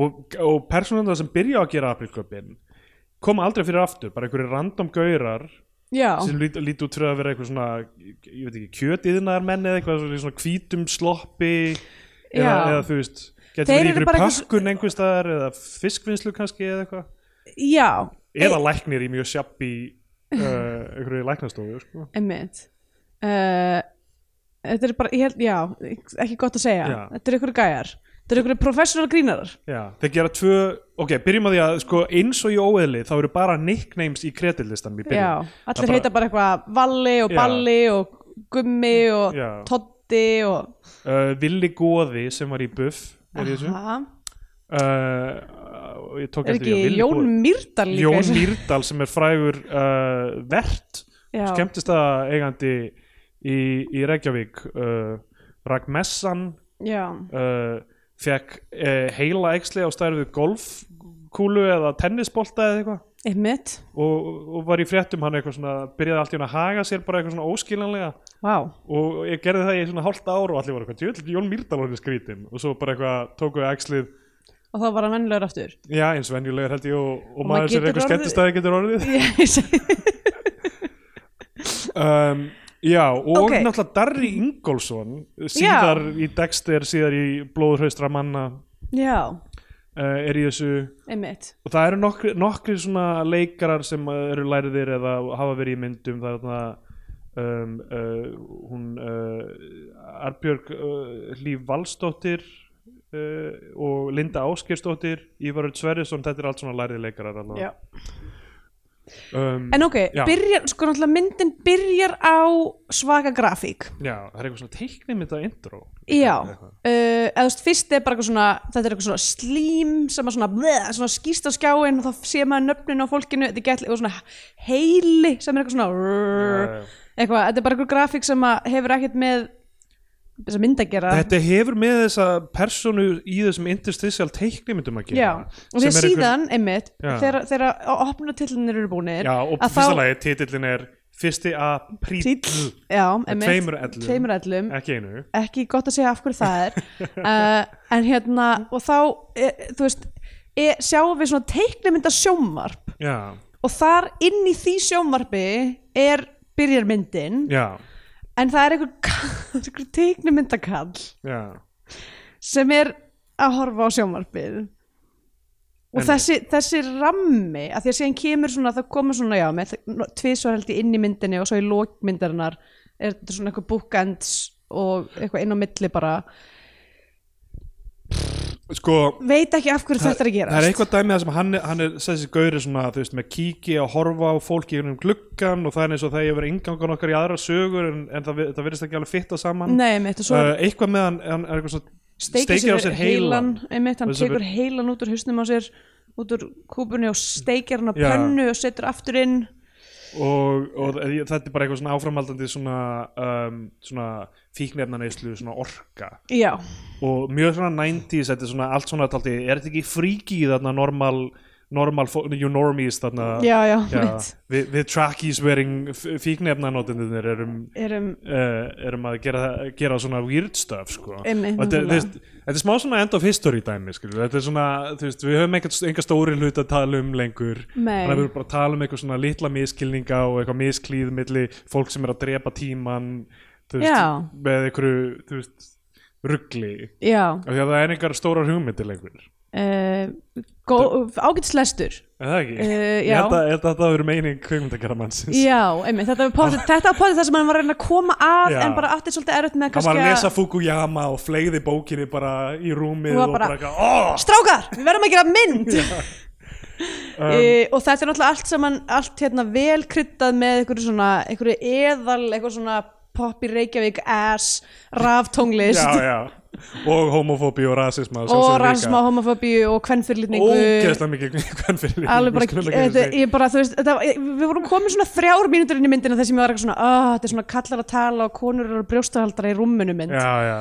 og, og persónum sem byrja að gera aprilköpinn koma aldrei fyrir aftur, bara einhverju random gaurar Já, sem lít, lít út fyrir að vera eitthvað svona ég veit ekki, kjötiðnaðar menn eða eitthvað svona, svona hvítum sloppi eða, Já. eða þú veist Þeir getur verið í eru einhverju bara eitthvað- pökkun einhvers staðar eða fiskvinnslu kannski eða eitthvað já eða læknir í mjög sjabbi uh, einhverju læknastofu sko. emmett uh, þetta er bara, ég held, já ekki gott að segja, Já. þetta er ykkur gæjar þetta er ykkur professional grínarar Já, þeir gera tvö, ok, byrjum að því að sko, eins og í óeðli þá eru bara nicknames í kredillistanum já, í byrjun Það allir heita bara eitthvað valli og Já. balli og gummi og Já. toddi og uh, Willi Góði sem var í Buff er í þessu uh, Aha. og ég tók er eftir því að ekki Willi Jón Goði- Mýrdal líka Jón í þessu? Mýrdal sem er frægur uh, vert já, skemmtist að eigandi í, í Reykjavík uh, Ragmessan já, uh, fekk uh, heila æxli á stærð við golfkúlu eða tennisbolta eða eitthvað einmitt og, og var í fréttum hann eitthvað svona byrjaði allt í hann að haga sér bara eitthvað svona óskiljanlega Vá, og ég gerði það í svona hálft ár og allir voru eitthvað, djöld, Jón Mýrdal var skrítin og svo bara eitthvað tókuði æxlið og þá var hann vennilegur aftur já, eins venjulegur held ég og, og, Og maður maður sem getur eitthvað orðið- skemmtistæði getur orðið Ég segi- um, já, og Ok. náttúrulega Darri Ingolson síðar í Dexter, síðar í Blóðhraustra manna Já, uh, er í þessu einmitt og það eru nokkri, nokkri svona leikarar sem eh, eru læriðir eða hafa verið í myndum það er þarna um, uh, hún uh, Arbjörg uh, Líf Valsdóttir uh, og Linda Áskirsdóttir Ívarur Sverrisson, þetta er allt svona læriði leikarar allavega. um, En ok, Já. byrjar, sko náttúrulega myndin byrjar á svaka grafík já, það er eitthvað svona teiknimynda intro Já, uh, Eitthvað. eða þú veist, fyrst er bara eitthvað svona, þetta er eitthvað svona slím sem að svona, bleh, svona skýst á skjáin og þá sé maður nöfnin á fólkinu, þetta er gett eitthvað svona heili sem er eitthvað svona Já, já. eitthvað, þetta er bara eitthvað grafík sem að hefur ekkert með þess að mynda gera Þetta hefur með þessa personu í þessum interstitial teiknimyndum að Já, gera og því að sem er einhver- síðan, einmitt, Já. þegar, þegar opnutillunir eru búnir Já, og að fyrsta lagi, titillin er Fyrsti apríl Tíll, já, einmitt, tveimur ellum. tveimur ellum Ekki einu ekki gott að segja af hverju það er uh, en hérna og þá, e, þú veist e, sjáum við svona teiknumynda sjónvarp Já, og þar inn í því sjónvarpi er byrjar myndin já, en það er einhver, kall- einhver teiknumyndakall já sem er að horfa á sjónvarpið og En- þessi, þessi rammi að því að síðan kemur svona, það komur svona já, með tvisvar held ég inn í myndinni og svo í lókmyndarinnar er þetta svona eitthvað bookends og eitthvað inn á milli bara Sko veit ekki af hverju þetta er að Það er gerast eitthvað dæmið það sem hann, er- hann er þessi gauri svona, þú veist, með kíki að horfa á fólki í um gluggan og það er eins og það hefur verið ingangan okkar í aðra sögur en, en það, vi- það virðist ekki alveg fitta saman Nei, einmitt, og svo uh, Eitthvað með hann, hann er eitthvað svona steikir sér, heilan, heilann. einmitt, hann Og þessi- tekur heilan út úr hausnum á sér út úr kúpunni og steikir hann á Já. pönnu og setur aftur inn og, og þetta er bara eitthvað svona áframhaldandi svona, um, svona fíknefnaneyslu, svona orka já, og mjög svona 90s, þetta er svona allt svona taldi, er þetta ekki fríki þarna normal, normal, fo- you normies þarna já, já, Já, einmitt við, við trackies wearing fíknefnanótendunir erum erum, Uh, erum að gera, gera svona weird stuff sko. Einmitt, Og þetta, nákvæmlega. þú veist, þetta er smá svona end of history dæmi skilur. þetta er svona, þú veist, við höfum einhver, einhver stóri hlut að tala um lengur Nei. þannig að við erum bara að tala um eitthvað svona litla miskilninga og eitthvað misklíð milli fólk sem er að drepa tíman þú Já. veist, með einhverju þú veist, ruggli já af því að það er einhver stórar hugmyndir lengur uh, ágætslestur er það ekki? Eh, ég já. held að, held að þetta hafi verið meining kveimundakara mannsins Já, einmitt, þetta var potið, þetta var potið það sem hann var að reyna að koma að Ah. Já. en bara aftur svolítið erfitt með hann var kannski að lesa Fukuyama og fleigði bókinni bara í rúmið Hún var og bara- bara eitthvað, oh! Strákar, við verðum að gera mynd Um. e, og þetta er náttúrulega allt saman allt hérna vel kryddað með einhverju svona, einhverju eðal einhverju svona poppi Reykjavík ass raftónglist já, já. og homofóbí og rasisma og að sjálfsögðu líka. rasma, homofóbíu og kvennfyrlitningu ógeðslega mikið hvern fyrir alveg bara, þetta, ég bara, þú veist þetta, við vorum komin svona þrjár mínútur inn í myndina þessi mér var eitthvað svona, ah, þetta er svona kallar að tala og konur eru brjóstahaldara í rúmminu mynd já, já.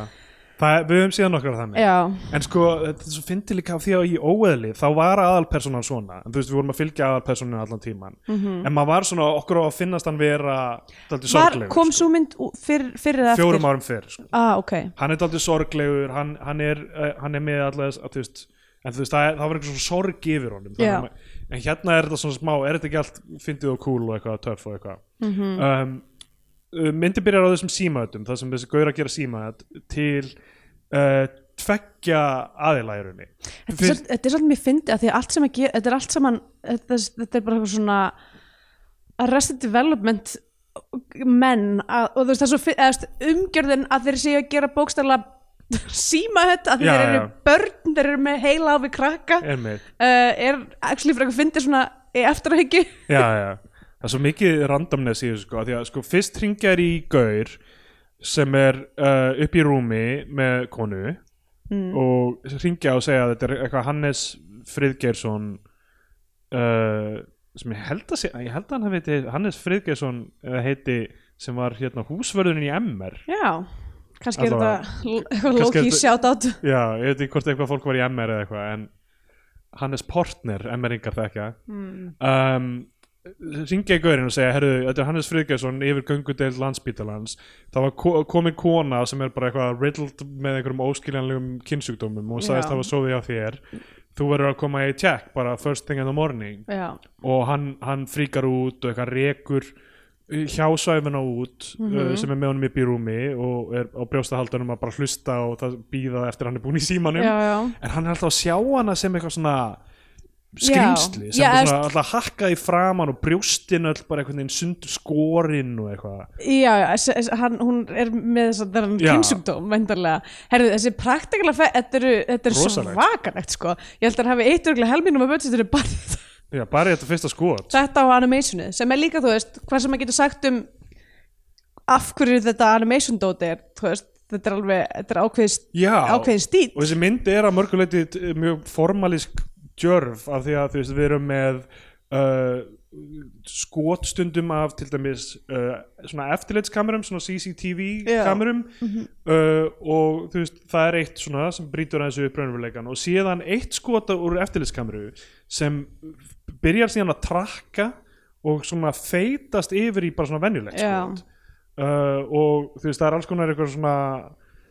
Það, við höfum síðan okkar þannig Já. en sko, þetta er svo fyndi líka af því að í óeðli þá var aðalpersonan svona en þú veist, við vorum að fylgja aðalpersoninu allan tíman en maður var svona, okkur á að finnast hann vera Mhm. Var, daldið sorglegur sko. kom svo mynd ú- fyrr, fyrir eða eftir? fjórum árum fyrr sko. Ah, ok. hann er daldið sorglegur hann, hann, er, eh, hann er með alltaf þú veist, en þú veist, það, það var einhver svona sorg yfir honum þannig Já. að ma- en hérna er þetta svona smá, er þetta ekki allt fyndið og cool og eitthvað töff og eitthvað um, uh, myndi byrjar á þessum símaðutum það sem þessi gaur að gera símaðut til uh, tveggja aðila í rauninni Þetta er Fyrst- svolítið- þetta er svolítið mér fyndið að því að allt sem að gera, þetta er allt saman, þetta, þetta er bara eitthvað svona arrested development menn að, og þú veist það er svo, fi- eða, þú veist, umgjörðin að þeir séu að gera bókstæðlega síma þetta að Já, þeir eru já. börn, þeir eru með heila á við krakka, uh, einmitt er actually fyrir eitthvað fyndið svona í eftirhaukju. já, já. það er svo mikið randomness í þessu sko, af því að sko, fyrst hringjar í gaur sem er uh, upp í rúmi með konu Hmm. og hringja og segja að þetta er eitthvað Hannes Friðgeirsson uh, sem ég held að, sé, ég held að hann heiti Hannes Friðgesson eða heiti sem var hérna húsvörðunin í MR já, kannski er Allavega. þetta l- eitthvað Kannski er low-key þetta- shout-out já, ég veit ekki hvort eitthvað fólk var í MR eða eitthvað en Hannes Portner, MR-ingar þekkja mm. um, ringja í gaurinn og segja herru, þetta er Hannes Friðgjesson yfir göngudeild landsbítalans það var ko komin kona sem er bara eitthvað riddled með einhverjum óskiljanlegum kynnsjúkdómum og hún sagðist Já. það var sofið á þér þú verður að koma í tjekk bara first thing in the morning já, og hann, hann fríkar út og eitthvað rekur hjásvæfuna út Mhm. uh, sem er með honum upp í rúmi og er á brjóstahaldunum að bara hlusta og það býða eftir að hann er búin í símanum já, já en hann er alltaf að sjá hana sem eitthvað svona skrýmsli sem Já, bara ég svona alltaf hakkaði framan og brjóstin öll bara einhvern veginn sundur skorinn og eitthvað Já, já, s- s- hann, hún er með þess að það er hann Já. kynnsjúkdóm, vendarlega. Herðu, þessi praktikala, fe- þetta eru, þetta eru Rosalegt. svakalegt, sko. Ég held að hann hafi eitt örgulega helminum að budgetinu bara í þetta. Já, bara í þetta fyrsta skot þetta á animationið sem er líka, þú veist, hvað sem maður getur sagt um af hverju þetta animation dóti er, þú veist, þetta er alveg þetta er ákveðin, Já, ákveðin stíl og þessi mynd er að mörguleiti mjög formalísk djörf af því að þú veist við erum með uh, skotstundum af til dæmis uh, svona eftirleitskamerum, svona CCTV Já. Mhm. kamerum uh, og þú veist það er eitt svona sem brýtur aðeins upp raunveruleikan og síðan eitt skota úr eftirleitskameru sem byrjar síðan að trakka og svona feitast yfir í bara svona venjulegt Já. skot uh, og þú veist það er alls konar eitthvað svona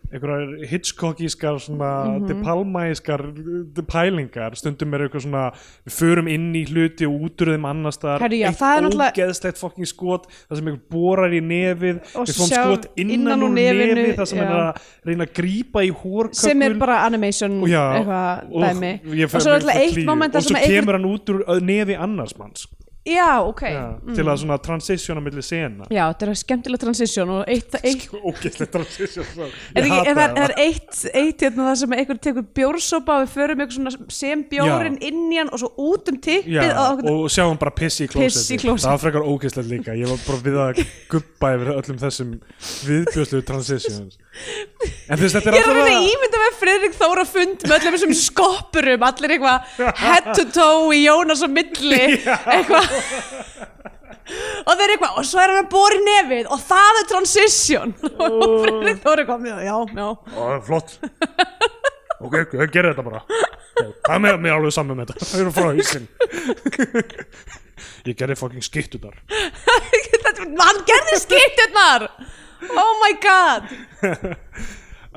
einhverjar Hitchcockískar svona Mhm. De Palmaískar uh, pælingar stundum er eitthvað svona við förum inn í hluti og út úr þeim annars staðar Herru, já, eitt það er náttúrulega- ógeðslegt fokking skot það sem einhver borar í nefið Og við fórum sjá skot innan, úr nefinu, það sem já. hann er að reyna að grípa í hórkökul sem er bara animation Og já, eitthvað og dæmi ég fer og svo er með alltaf eitt klíu. moment og þar svo sem að einhver- kemur hann út úr uh, nefi annars manns já, ok, já. ja, til að svona transitiona milli sena þetta er skemmtileg transition og eitt, eitt ógeðslegt transition svo. Ég Er, ekki, hata er, það, það. er eitt, eitt hérna það sem einhver tekur bjórsopa og við förum eitthvað svona sem bjórin inn í hann og svo út um tippið Já, og, og, og sjáum bara pissi í Piss í klósetti klósetti. það var frekar ógeðslegt líka ég var bara við að guppa yfir öllum þessum viðbjörslu transitions en þú veist þetta er Ég er að reyna að allavega- ímynda með Fredrik Þóra fund með öllum þessum skoppurum, allir eitthvað head to toe í Jónas á milli eitthvað og þeir eru eitthvað, og svo er hann að bóri nefið og það er transition og Fredrik Þóra kom, já, já, já Ó, það er flott ok, ok, gera þetta bara það er mér, mér alveg saman með þetta það eru frá hísin ég gerði fucking skittu þar Þetta- hann gerði skipturnar oh my god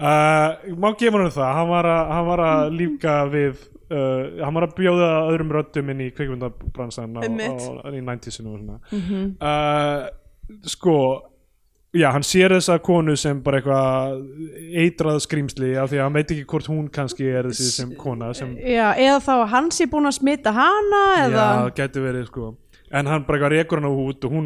uh, má gefa hann það hann var að, hann var að líka við Uh, hann var að bjóða öðrum röddum inn í kvikmyndabransan á, Einmitt. Mhm. á, í 90sinu og svona uh, sko já, hann sér þessa konu sem bara eitthvað eitrað skrýmsli af því að hann veit ekki hvort hún kannski er þessi sem kona sem já, eða þá að hann sé búin að smita hana eða Já, gæti verið sko En hann bara eitthvað rekur hann á hút og hún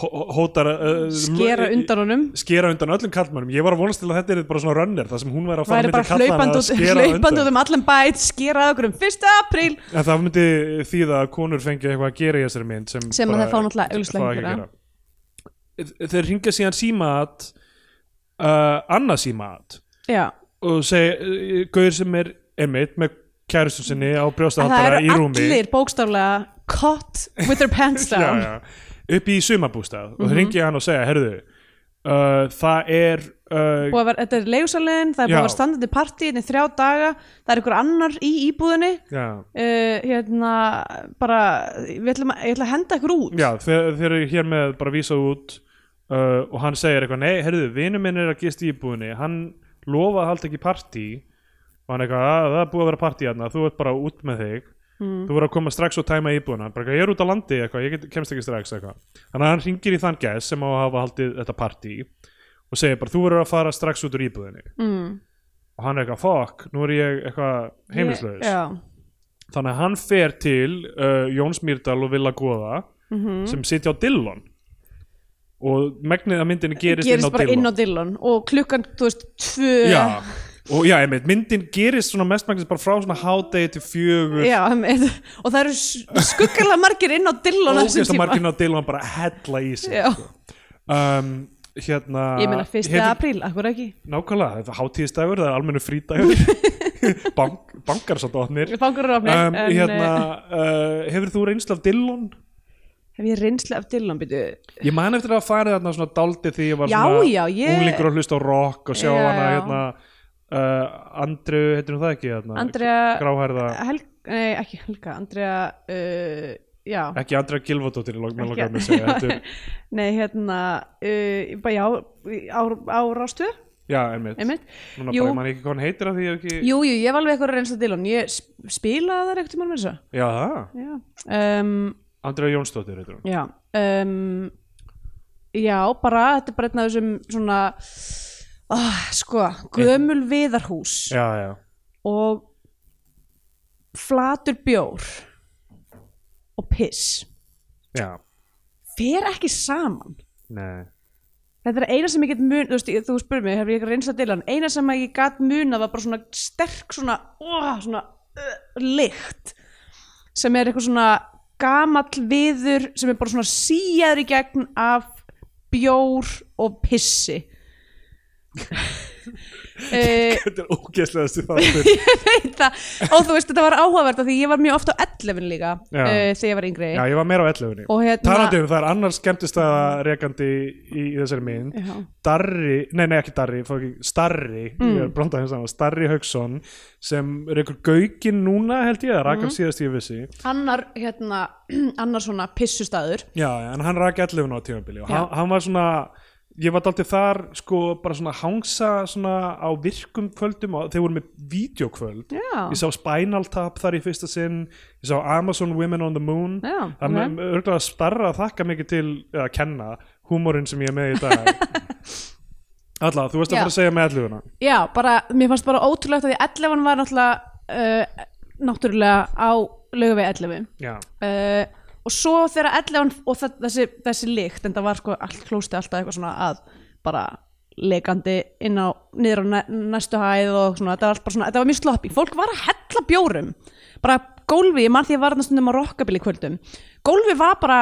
hó- hó- hótar uh, skera undan honum skera undan öllum kallmannum Ég var að vonast til að þetta er bara svona runner Það sem hún væri að fara væri milli bara karlmanna hlaupandi að út, skera hlaupandi út um allan bæt skera að okkur um 1. apríl En það myndi þýða að konur fengi eitthvað að gera í þessari mynd Sem, Sem að bara þær fá náttúrulega augljóslega fá ekki ekki að að gera. Þeir ringja síðan símat uh, Annað símat já Og segja, gauður sem er einmitt með kæristum sinni á En það brjóstahaldara í eru rúmi allir bókstaflega caught with their pants já, down já, upp í sumabústað Mhm. og það ringi ég hann og segja, herðu uh, það er uh, Búið að vera, þetta er leigusalinn, það er búið að Já. vera standandi partí hérna í þrjá daga, það er ykkur annar í íbúðinni já, uh, hérna, bara við ætlum að, ég ætla að henda ykkur út já þeir, þeir eru hér með bara vísað út uh, og hann segir eitthvað, nei, herðu vinur minn er að gist í íbúðinni, hann lofaði að halda ekki partí og hann eitthvað, "Ah, það er búið að vera partí hérna þú ert bara út með þig Mm. þú verður að koma strax og tæma íbúðina Hann bara, eitthvað, ég er út á landi, eitthvað, ég get, kemst ekki strax eitthvað. þannig að hann ringir í þann gæs sem á að hafa haldið þetta partí og segir bara, þú verður að fara strax út úr íbúðinni mm. og hann er eitthvað fokk, nú er ég eitthvað heimilislaus Já, þannig að hann fer til uh, Jóns Mýrdal og Villa Góða Mhm. sem sitja á Dillon og megnið að myndin gerist, gerist inn á bara Dillon inn á Dillon og klukkan, þú veist, tvö já, og já, einmitt, myndin gerist svona mestmægnist bara frá svona hádegi til fjögur Já, einmitt. og það eru skuggalega margir inn á Dillon á þessum ógeðslega tíma marginn á Dillon bara hella í sig Já. sko. um, hérna Ég meina, fyrsta hefur- apríl, akkur ekki nákvæmlega, það er hátíðisdagur, það er almennu frídagur Bank, bankar svolítið opnir Bankur eru um, en, eh, hérna, uh, hefur þú reynslu af Dillon? hef ég reynslu af Dylan byrju Ég man eftir að fara þarna svona dáldi því ég var Já, svona já, ég- unglingur að hlusta á rock og sjá Já, hana já. hérna uh, Andru, heitir hún það ekki hérna Andrea- Gráhærða, Helga, nei ekki Helga, Andrea uh, já, ekki Andra Gilvadóttir lók, Ekki- ekki, lók, mig, að segja, heldur, nei hérna uh, bara já, á, á rástu Já, einmitt, einmitt, Núna Jú. bara ég man ekki hvað hann heitir að því ég hef ekki jú, jú, ég hef alveg eitthvað reynslu af Dylan, ég sp- spilaði það eitthvað mann með þessu Já, það, já, um, Andra Jónsdóttir heitir hún Já, um, já bara, þetta er bara einn af þessum svona, uh, sko, gömul viðarhús Já, já, og flatur bjór og piss. já, Fer ekki saman. nei Þetta er eina sem ég get mun, þú veist, ég- þú spurði mig, hefur ég eitthvað reynslað til hann, eina sem ég gat munað var bara svona sterk svona, ó, svona uh, lykt sem er eitthvað svona gamall viður sem er bara svona síjaður í gegn af bjór og pissi. uh, Þetta er ógeðslega þessi þáttur það, og þú veist, þetta var áhugavert af því ég var mjög oft á 11 líka uh, Já. þegar ég var yngri. Já, ég var meira á 11 Og hérna- Talandi um það er annar skemmtist að rekandi í, í þessari mynd Já. Darri, nei, nei, ekki Darri fucking Starri, Mm. ég er að blanda hans saman Starri Hauksson sem er einhver gaukin núna held ég, það rak Mm. hann síðast ég vissi Annar, hérna, annar svona pissustæður. Já, en hann rak 11 á tímabili og Já. hann, hann var svona ég var daldið þar sko bara svona hangsa svona á virkum kvöldum og þeir voru með vídeokvöld Já. ég sá Spinal Tap þar í fyrsta sinn ég sá Amazon Women on the Moon Já, það ok. er okay. örgulega að starra að þakka mikið til að kenna húmórin sem ég er með í dag Alla, þú veist að Já. fara að segja með alluguna Já, bara, mér fannst bara ótrúlegt að því 11 var náttúrulega uh, náttúrulega á laugavegi 11 Já, uh, og svo þegar 11 og það, þessi, þessi líkt en það var sko allt klósti alltaf eitthvað svona að bara leikandi inn á niður á næ- næstu hæð og svona, þetta var allt bara svona, þetta var mjög sloppy fólk var að hella bjórum bara gólfi, ég mann því að ég var þarna stundum á rockabili kvöldum, gólfi var bara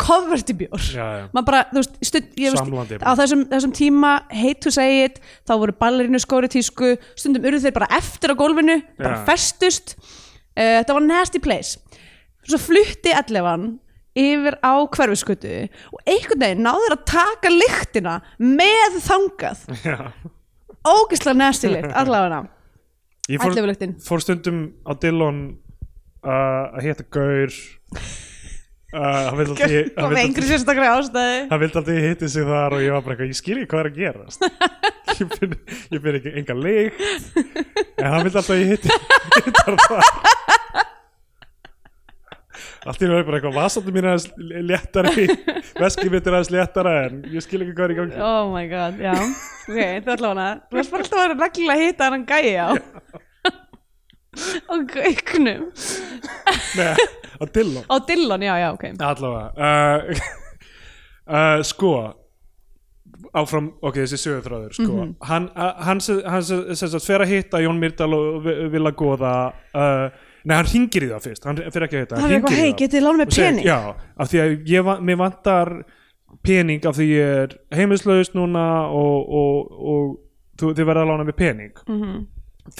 covered í bjór Já, já. maður bara, þú veist, stund, ég Samlandi veist bara. á þessum, þessum tíma, hate to say it þá voru ballerínu skóri tísku stundum urðu þeir bara eftir á gólfinu bara Já. festust uh, þetta var nasty place svo flutti allefan yfir á hverfiskutu og einhvern veginn náður að taka lyktina með þangað já. ógislega nasty lykt, allavega Ég fór, allefulyktin fór stundum á Dillon uh, að hétta Gaur uh, hann vildi alltaf ég- og hann með vildi einhverju alltaf- sérstaklega ástæði hann vildi alltaf ég hitti sig þar og ég var bara eitthvað, ég skil ekki hvað er að gerast ég finn, ég finn ekki enga leik en hann vildi alltaf ég hitti hittar þar allt í einu er bara eitthvað vasandi mín aðeins léttari veskið mitt er aðeins léttara en ég skil ekki hvað er í gangi oh my god, já ok, þetta er allavega þú varst bara alltaf að vera reglulega að hitta hann gæja á og gauknum Nei, á Dillon á Dillon, já, já, ok allavega uh, uh, sko áfram, ok, þessi sögurþráður sko. Mhm. mm -hmm. hann, uh, hann, sem- hann sem sem sagt fer að hitta Jón Myrdal og vil að goða uh, nei, hann ringir í það fyrst hann fer ekki að hitta, Það er eitthvað, hringir í hei, það getið þið lána og með segir, pening? já, af því að ég, va- mér vantar pening af því ég er heimilslaust núna og, og, og þú, þið verða að lána mér pening Mhm. -hmm.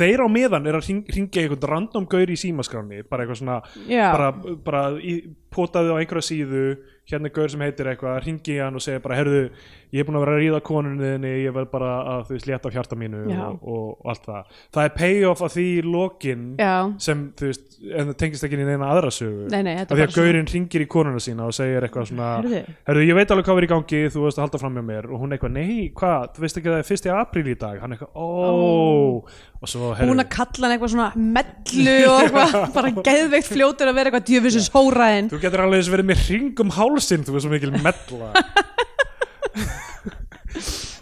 þeir á meðan er að hring- hringja í einhvern random gaur í símaskráni bara eitthvað svona Já. bara, bara í, potaðu á einhverja síðu hérna er gaur sem heitir eitthvað, ringi í hann og segja bara, herðu, ég er búin að vera að ríða konunni þinni, ég verð bara að þú veist létta af hjarta mínu Já. og, og allt það það er payoff af því í lokin Já. sem, þú veist, en það tengist ekki inn í neina aðra sögu, Nei, nei, þetta er af því bara að gaurinn ringir í konuna sína og segir eitthvað svona Heyrðu. herðu, ég veit alveg hvað er í gangi, þú veist að halda fram hjá mér og hún eitthvað, nei, hvað, þú veist ekki að það er fyrsti apríl í dag, hann eitthvað, ó og svo, herðu, Búin að kalla hann eitthvað svona mellu og eitthvað, bara geðveikt fljótur að vera eitthvað djöfisins hóraðinn. Þú getur alveg eins verið með ring um hálsinn, þú er svo mikil mella.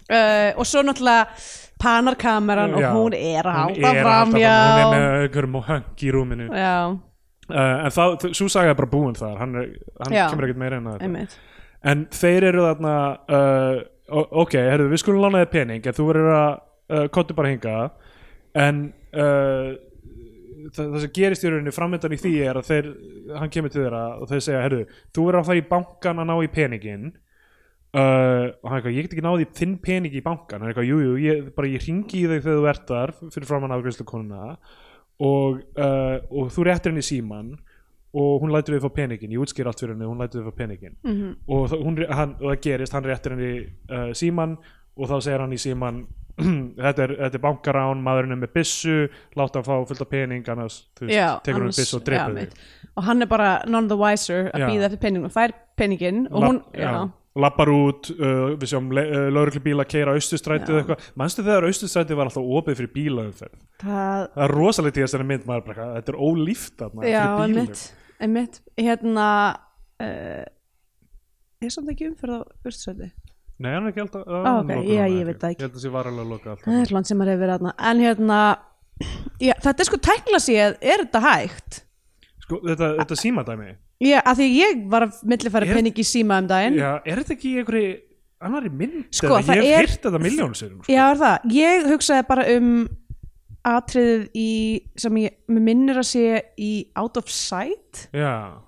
Uh, og svo náttúrulega panar kameran og Já, hún er að hún halda er að fram, halda Hún er já. með einhverjum og höng í rúminu. Uh, Já, en það, svo saga er bara búin þar, hann, er, hann Já. kemur ekkert meira en að þetta. einmitt. En þeir eru þarna, uh, o- ok, herrðu, við skulum lána þér pening, en þú verður að uh, kottu bara hinga. En uh, það, það sem gerist í rauninni framöndan í því er að þeir, hann kemur til þeirra og þeir segja, herrðu, þú verður að fara í bankan að ná í peningin. uh, og hann eitthvað, ég get ekki náði þinn pening í bankan, hann eitthvað, jú, jú, ég, bara ég ringi í þau þegar þú ert þar fyrir framann afgjörslu konuna og, uh, og þú réttir henni síman og hún lætur við fá peningin, ég útskýr allt fyrir henni hún lætur við fá peningin Mhm. -hmm. og, það, hún, hann, og það gerist, hann réttir henni uh, síman og þá segir hann í síman þetta er, þetta er bankarán maðurinn er með byssu, láta hann fá fullt af pening annars, þú Já, veist, tekur hann annars- byssu og já, dreipur þig einmitt. og hann er bara none the wiser að Já. býða eftir peningin og fær peningin og hún, Lapp- já, já. lappar út, uh, við sjáum le- uh, lauruglubíla keira austustrætið eða eitthvað manstu þegar austustrætið var alltaf opið fyrir bílaumferð það það er rosalegt í þessari mynd maður bara, eitthvað, þetta er ólíft þarna já, fyrir bílum. einmitt, einmitt hérna uh, er samt ekki umferð á Urstsöldi Nei, hann er ekki alltaf Á, ah, hann Ah, ok, lokar já, núna, ég veit það ekki. Ég held að það sé varulega loka alltaf það er land sem maður hefur verið aðna en hérna, já, þetta er sko tækla séð, er þetta hægt? Sko, þetta, þetta símadæmi Já, að því ég var að millifæra Er- pening í síma um daginn Já, er þetta ekki í einhverju annari mynd Sko, eða? það Ég hef er- heyrt þetta miljónu sérum sko. Já, er það. Ég hugsaði bara um atriðið í, sem ég mér minnir að sé í Out of Sight Já,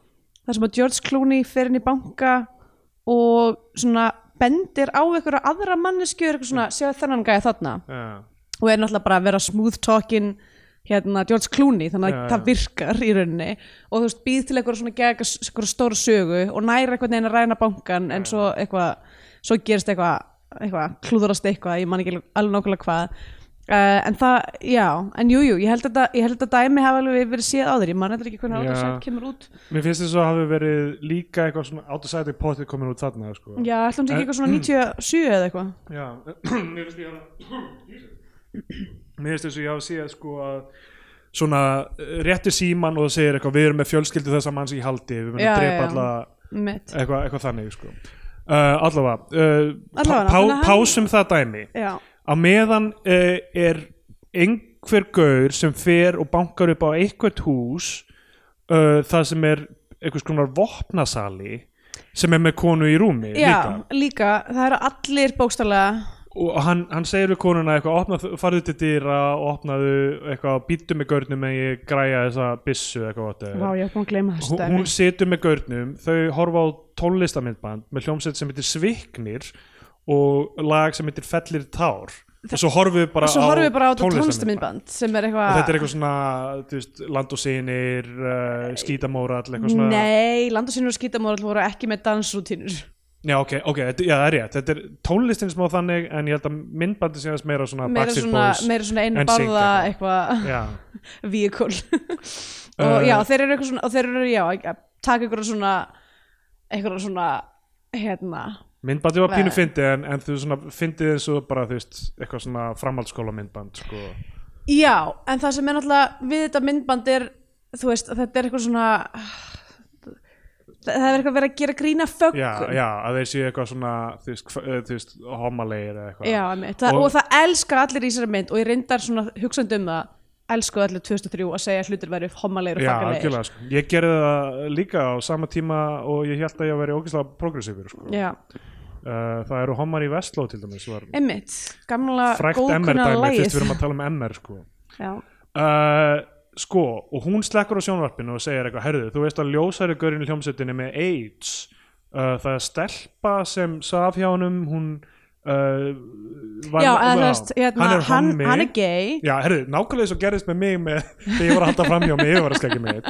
þar sem að George Clooney fer inn í banka og svona bendir á einhverja aðra manneskjur eitthvað svona, séu þennan gæja þarna já og er náttúrulega bara að vera smooth talking hérna George Clooney þannig að Já, já. það virkar í rauninni og þú veist býð til eitthvað svona gegg eitthvað stóra sögu og næra eitthvað neina ræna bankan en svo eitthvað svo gerist eitthvað eitthvað klúðrast eitthvað ég man ekki alveg nákvæmlega hvað uh, en það, já, en jújú jú, ég held að þetta- ég held að dæmi hafa alveg verið séð áður ég man eitthvað ekki hvernig Já. áður það kemur út Mér finnst þess að hafi verið líka eitthvað svona átasæti potið komin út þarna sko. já, ætlum þetta ekki eitthvað svona 97 eða eitthvað Já, mér finnst ég að Mér finnst þess að ég hafi séð sko að svona eh, réttir síman og það segir eitthvað við erum með fjölskyldu þessa mann sem ég haldi við munum Já, já, dreipa já. alla mitt, eitthvað, eitthvað þannig sko. uh, allavega, uh, Allavega, pá, þannig að hann- pásum það dæmi já, á meðan uh, er einhver gaur sem fer og bankar upp á einhvert hús uh, það sem er einhvers konar vopnasali sem er með konu í rúmi já líka. líka. það eru allir bókstarlega og hann, hann segir við konuna eitthvað opna, farðu til dýra og opnaðu eitthvað býttu með gaurnum en ég græja þessa byssu eitthvað whatever. Vá, ég er búin að gleyma þessu Hún- dæmi. hún situr með gaurnum þau horfa á tónlistamindband með hljómsveit sem heitir Sviknir og lag sem heitir Fellir tár og svo horfum við bara og svo horfum við bara á tónlistarmyndband. tónlistamindband sem er og eitthvað þetta er eitthvað svona þú veist, land og sinir, uh, skítamórall eitthvað svona nei, landasynur og skítamóral voru ekki með dansrútínur já, ok, ok, þetta, já, það er rétt þetta er tónlistin smá þannig en ég held að myndbandi séðast meira svona meira Backstreet svona, Boys meira svona einu en sync barða eitthvað já, vehicle Uh, og já, þeir eru eitthvað svona og þeir eru, já, að taka eitthvað svona eitthvað svona hérna, myndbandi var pínu Nei. fyndið en, en þú svona fyndið eins og bara þú veist, eitthvað svona framhaldsskóla myndband sko. já, en það sem er náttúrulega við þetta myndband er þú veist, þetta er eitthvað svona það er eitthvað verið að gera grína föggun já, já, að þeir séu eitthvað svona þú veist, hva- eh, þú veist homalegir eða eitthvað Já, einmitt. það, og, Og- það elska allir í þessari mynd og ég reyndar svona hugsandi um það elsku allir 2003 að segja að hlutir væri hommalegir og Já, faggarlegir algjörlega, sko. ég gerði það líka á sama tíma og ég held að ég væri ógeðslega progressífur sko. uh, Já, það eru homar í Vestló til dæmis var einmitt, gamla frækt MR góðkunna dæmi, fyrst lægið við erum að tala um MR sko. Já, Uh, sko, og hún slekkur á sjónvarpinu og segir eitthvað, herðu, þú veist að ljósæri gaurinn í hljómsveitinni með AIDS uh, það er stelpa sem saf hjá honum, hún uh, var, Já eða þú veist, hérna, hann er hann, hommi hann er gay Já, herru, nákvæmlega eins og gerðist með mig með, þegar ég var að halda fram hjá mig, ég var að skegja mig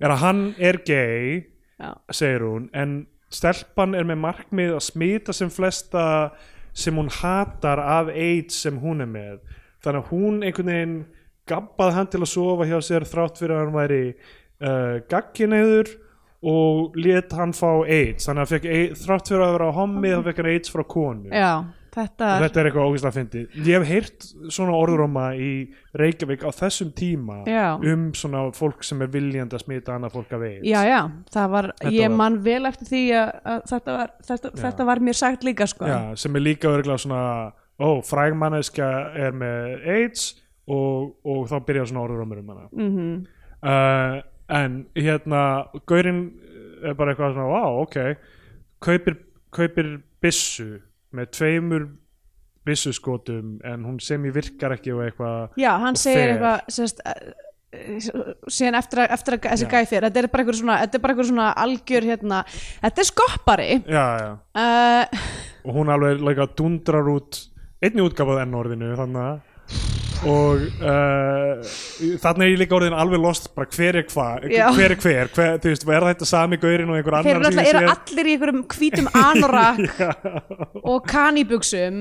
er að hann er gay Já. segir hún, en stelpan er með markmið að smita sem flesta sem hún hatar af AIDS sem hún er með þannig að hún einhvern veginn gabbað hann til að sofa hjá sér þrátt fyrir að hann væri uh, gagginniður og let hann fá AIDS þannig að hann fekk, AIDS- þrátt fyrir að vera hommi þá fekk hann AIDS frá konu Já, þetta og er þetta er eitthvað ógeðslega fyndið ég hef heyrt svona orðuróma í Reykjavík á þessum tíma Já. um svona fólk sem er viljandi að smita annað fólk af veit Já, já, það var, Þetta ég var- man vel eftir því að, að þetta, var, þetta, þetta var mér sagt líka sko Já, sem er líka örgulega svona ó, frægmanneska er með AIDS og, og þá byrja svona orðurómur um hana mm Mhm. -hmm. en hérna gaurinn er bara eitthvað svona vá, ok, kaupir, kaupir byssu með tveimur byssuskotum en hún sem ég virkar ekki og eitthvað Já, hann Og segir fer. eitthvað sérst, eh, síðan eftir að, eftir að þessi Já. gæi fyrir, þetta er bara einhver svona, þetta er bara einhver svona algjör hérna, þetta er skoppari já, já uh, og hún alveg like, dundrar út einni útgafað enn orðinu þannig að og uh, þannig er ég líka orðin alveg lost bara hver er hvað, Já. hver er hver, hver þú veist, er þetta sami gaurinn og einhver Þeir eru annar alltaf, eru allir í einhverjum hvítum anorak allir og kaníbuxum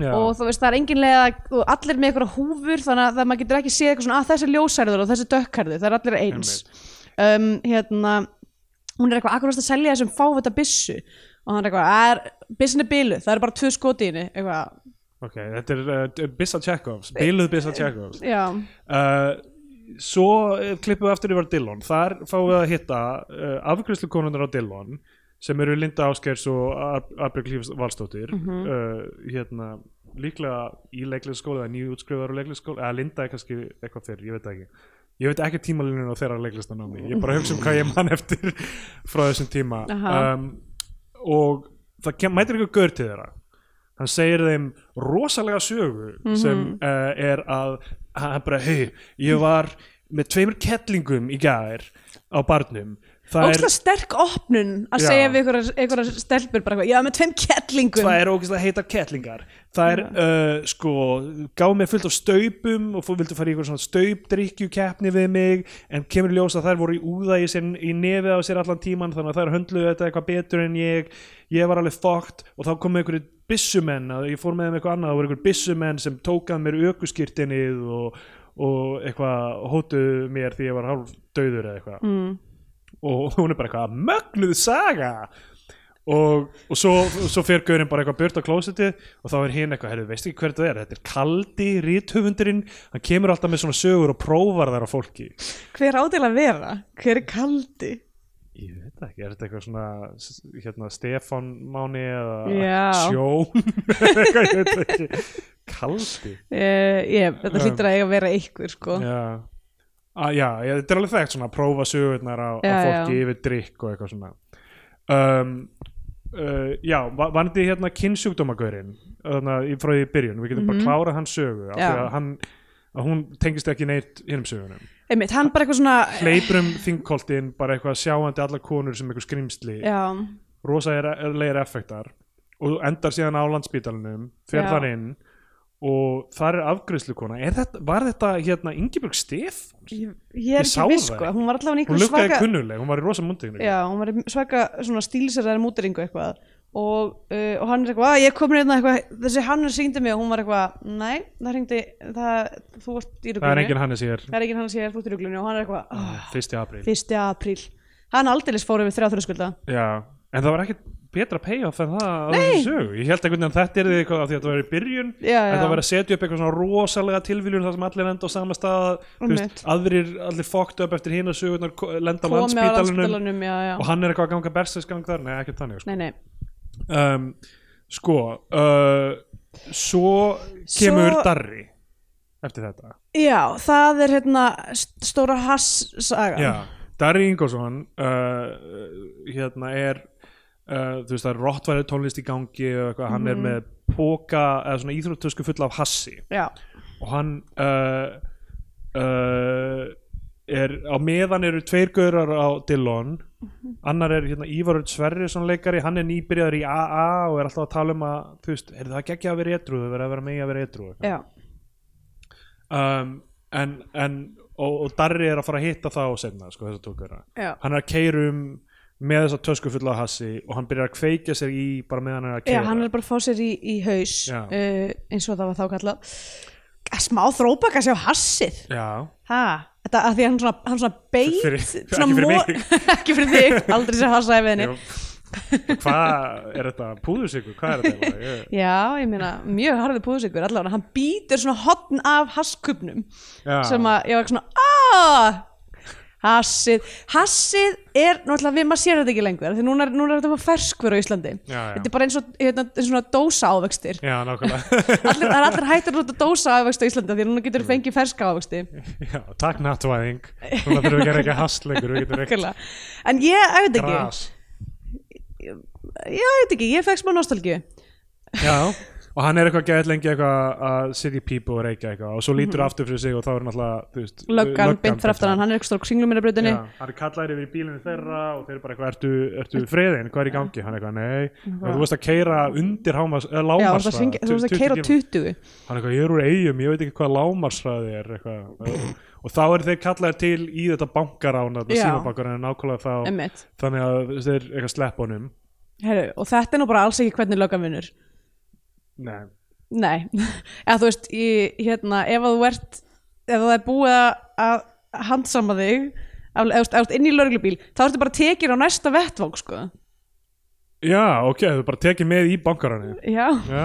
og þú veist það er engin leið að og allir með einhverja húfur þannig að það maður getur ekki séð eitthvað svona að þessi er ljósærður og þessi er dökkarður, það er allir eins um, hérna hún er eitthvað akkur varst að selja þessum fávita byssu og hann er eitthvað, "Ah, "Er- byssun er bilu það eru bara tvö skoti í henni eitthvað, ok, þetta er uh, Bissa Chekhovs, biluð Eh, Bissa Chekhovs já, uh, svo eh, klippum við aftur yfir á Dillon þar fáum við að hitta uh, afgriðslu konundar á Dillon sem eru Linda Áskers og Arbjörg Lífs Valstóttir uh, hérna, líklega í leiklisskóla eða nýjútskrifar á leiklisskóla eða Linda er kannski eitthvað fyrr, ég veit það ekki ég veit ekki tímalínun á þeirra leiklistanámi ég bara hugsa um hvað ég man eftir frá þessum tíma Aha. um, og það kem, mætir eitthvað gaur til þeirra hann segir þeim rosalega sögu sem uh, er að hann bara, hei, ég var með tveimur kettlingum í gær á barnum það er, óslega sterk opnun að Já. segja við einhverja, einhverja stelpur bara eitthvað, já með tveim kettlingum það er ógeðslega heitar kettlingar það er, uh, sko, gáð mér fullt af staupum og fór, vildu fara í einhver svona staupdrykkju keppni við mig en kemur í ljós að þær voru í úða í, sinn, í nefið á sér allan tíman þannig að þær höndluðu þetta eitthvað betur en ég ég var alveg fókt og þá komu einhverju byssumenn, að ég fór með þeim eitthvað annað það voru einhverju byssumenn sem tókað mér ökuskirtinnið og, og eitthvað hótuðu mér því ég var hálf döður eða eitthvað mm. og hún er bara eitthvað mögnuð saga og, og svo, svo fer Gaurin bara eitthvað burt á klósiti og þá er hinn eitthvað, heyrðu, veist ekki hver þetta er þetta er kaldi, ríthöfundurinn hann kemur alltaf með svona sögur og prófar þær á fólki hver ádæla að vera, hver er kaldi ég veit það ekki, er þetta eitthvað svona s- hérna Stefán Máni eða Já. Sjón eitthvað, ég veit það ekki kaldi uh, ég, þetta Um. hlýtur að eiga að vera einhver sko já, ah, já, já, þetta er alveg þekkt svona að prófa sögurnar á, á Já, fólki já. yfir drikk og eitthvað svona um, uh, já, va- vandi hérna kynnsjúkdómagaurinn þarna í- frá því í byrjun, við getum bara klárað hans sögu af því Mhm. Já. að hann að hún tengist ekki neitt hinnum sögunum einmitt, hann bara eitthvað svona hleypur um þingkoltin bara eitthvað sjáandi allar konur sem eitthvað skrimsli já, rosa er, er leir effektar og endar síðan á landspítalunum fer Já. þar inn og þar er afgriðslukona er þetta, var þetta hérna Ingibjörg Stefáns? ég, ég er Ég sá ekki viss það sko, ekki. hún var allavega í hún einhverju lukkaði svaka kunnuleg, hún var í rosa mundinu já, hún var í svaka svona stílsæðar múteringu eitthvað og, uh, og hann er eitthvað, "Að, ég kom reyna eitthvað þessi Hannes syngdi mig og hún var eitthvað nei, það hringdi, það, þú ert í ruglunni það er enginn Hannes hér, það er enginn hann sem ég er þú ert í ruglunni og hann er eitthvað, oh, 1. apríl 1. apríl hann aldeilis fór yfir þrjá þrjóskulda já, en það var ekkit betra payoff en það á Nei. þessu sögu. ég held einhvern veginn að þetta er eitthvað af því að þetta var í byrjun já, en já, það var að setja upp eitthvað svona rosalega tilviljun þar sem allir enda á sama stað þú veist, Einmitt. aðrir, allir fucked up eftir hina sögurnar ko- komið lenda á á landspítalunum landspítalunum já, já, og hann er eitthvað að ganga bersinsgang þar, nei ekkert þannig sko. nei, nei um, sko uh, svo kemur Svo- Darri eftir þetta já, það er hérna st- stóra hass saga Já, Darri Ingolson uh, hérna er uh, þú veist það er rottværi tónlist í gangi og eitthvað, hann er með póka eða svona íþróttösku fulla af hassi já, og hann uh, uh, er á meðan eru tveir gaurar á Dillon annar er hérna Ívarur Sverrisson leikari hann er nýbyrjaður í AA og er alltaf að tala um að þú veist, er það geggja að vera etru það verður að vera megi að vera etru já, um, en, en og, og Darri er að fara að hitta það og senna sko, þessa tókara já hann er að keyra um með þessa tösku fulla af hassi og hann byrjar að kveikja sér í bara meðan hann er að Já, keyra hann er bara að fá sér í, í haus Já. uh, eins og það var þá kallað smá þróbaka sér á hassið Já, ha, þetta að því að hann svona, hann svona beit Fyrir- svona ekki fyrir mo- mig. ekki fyrir þig, aldrei sér hassaði við henni Jú. hvað er þetta? Púðursykkur? Hvað er þetta? eiginlega? Ég- já, ég meina, mjög harfið púðsikur allavega, hann býtur svona hotn af hasskupnum Já. sem að ég var svona aaaah Hassið, hassið er náttúrulega við maður sér þetta ekki lengur af því núna er, núna er þetta bara ferskvör á Íslandi Já, já. þetta er bara eins og hérna, svona dósa ávextir Já, nákvæmlega allir, það er allir hættur út að dósa ávegst á Íslandi af því að núna getur fengið ferska ávegsti Já, takk nattvæðing Núna þurfum við ekki að reyka hasl lengur Við getum reykt Nákvæmlega. en ég, ég veit ekki gras ég veit ekki, ég fekk smá nostalgíu Já, og hann er eitthvað gæðið lengi eitthvað að city people og reykja eitthvað og svo lítur aftur fyrir sig og þá er hann alltaf þú veist, Mhm. löggan beint fyrir aftan hann, hann er eitthvað singlumirabrutinni Já, hann er kallaður yfir í bílinu þeirra og þeir eru bara eitthvað, ertu, ertu friðin, hvað er í gangi? Hann er eitthvað, nei, Vá. þú veist að keira undir hámars, eða Já, þú veist að lámarsraða syngja- þú veist að keira 20 Hann er eitthvað, ég er úr eigum, ég veit ekki hvað lámarsraði er eitthvað. og þá eru þeir kallaður til í þetta bankarán, Já. símabankar en nákvæmlega þá, Einmitt. þannig að þeir eitthvað slepp honum Heru, og þetta er nú bara alls ekki hvernig löggan vinnur Nei, Nei, eða þú veist í, hérna, ef að þú ert ef það er búið að- að handsama þig af- ef þú ert- ef þú ert inn í lörglubíl þá ertu bara tekið á næsta vettvang sko. Já, ok, þau bara tekið með í bankaranu Já, Já,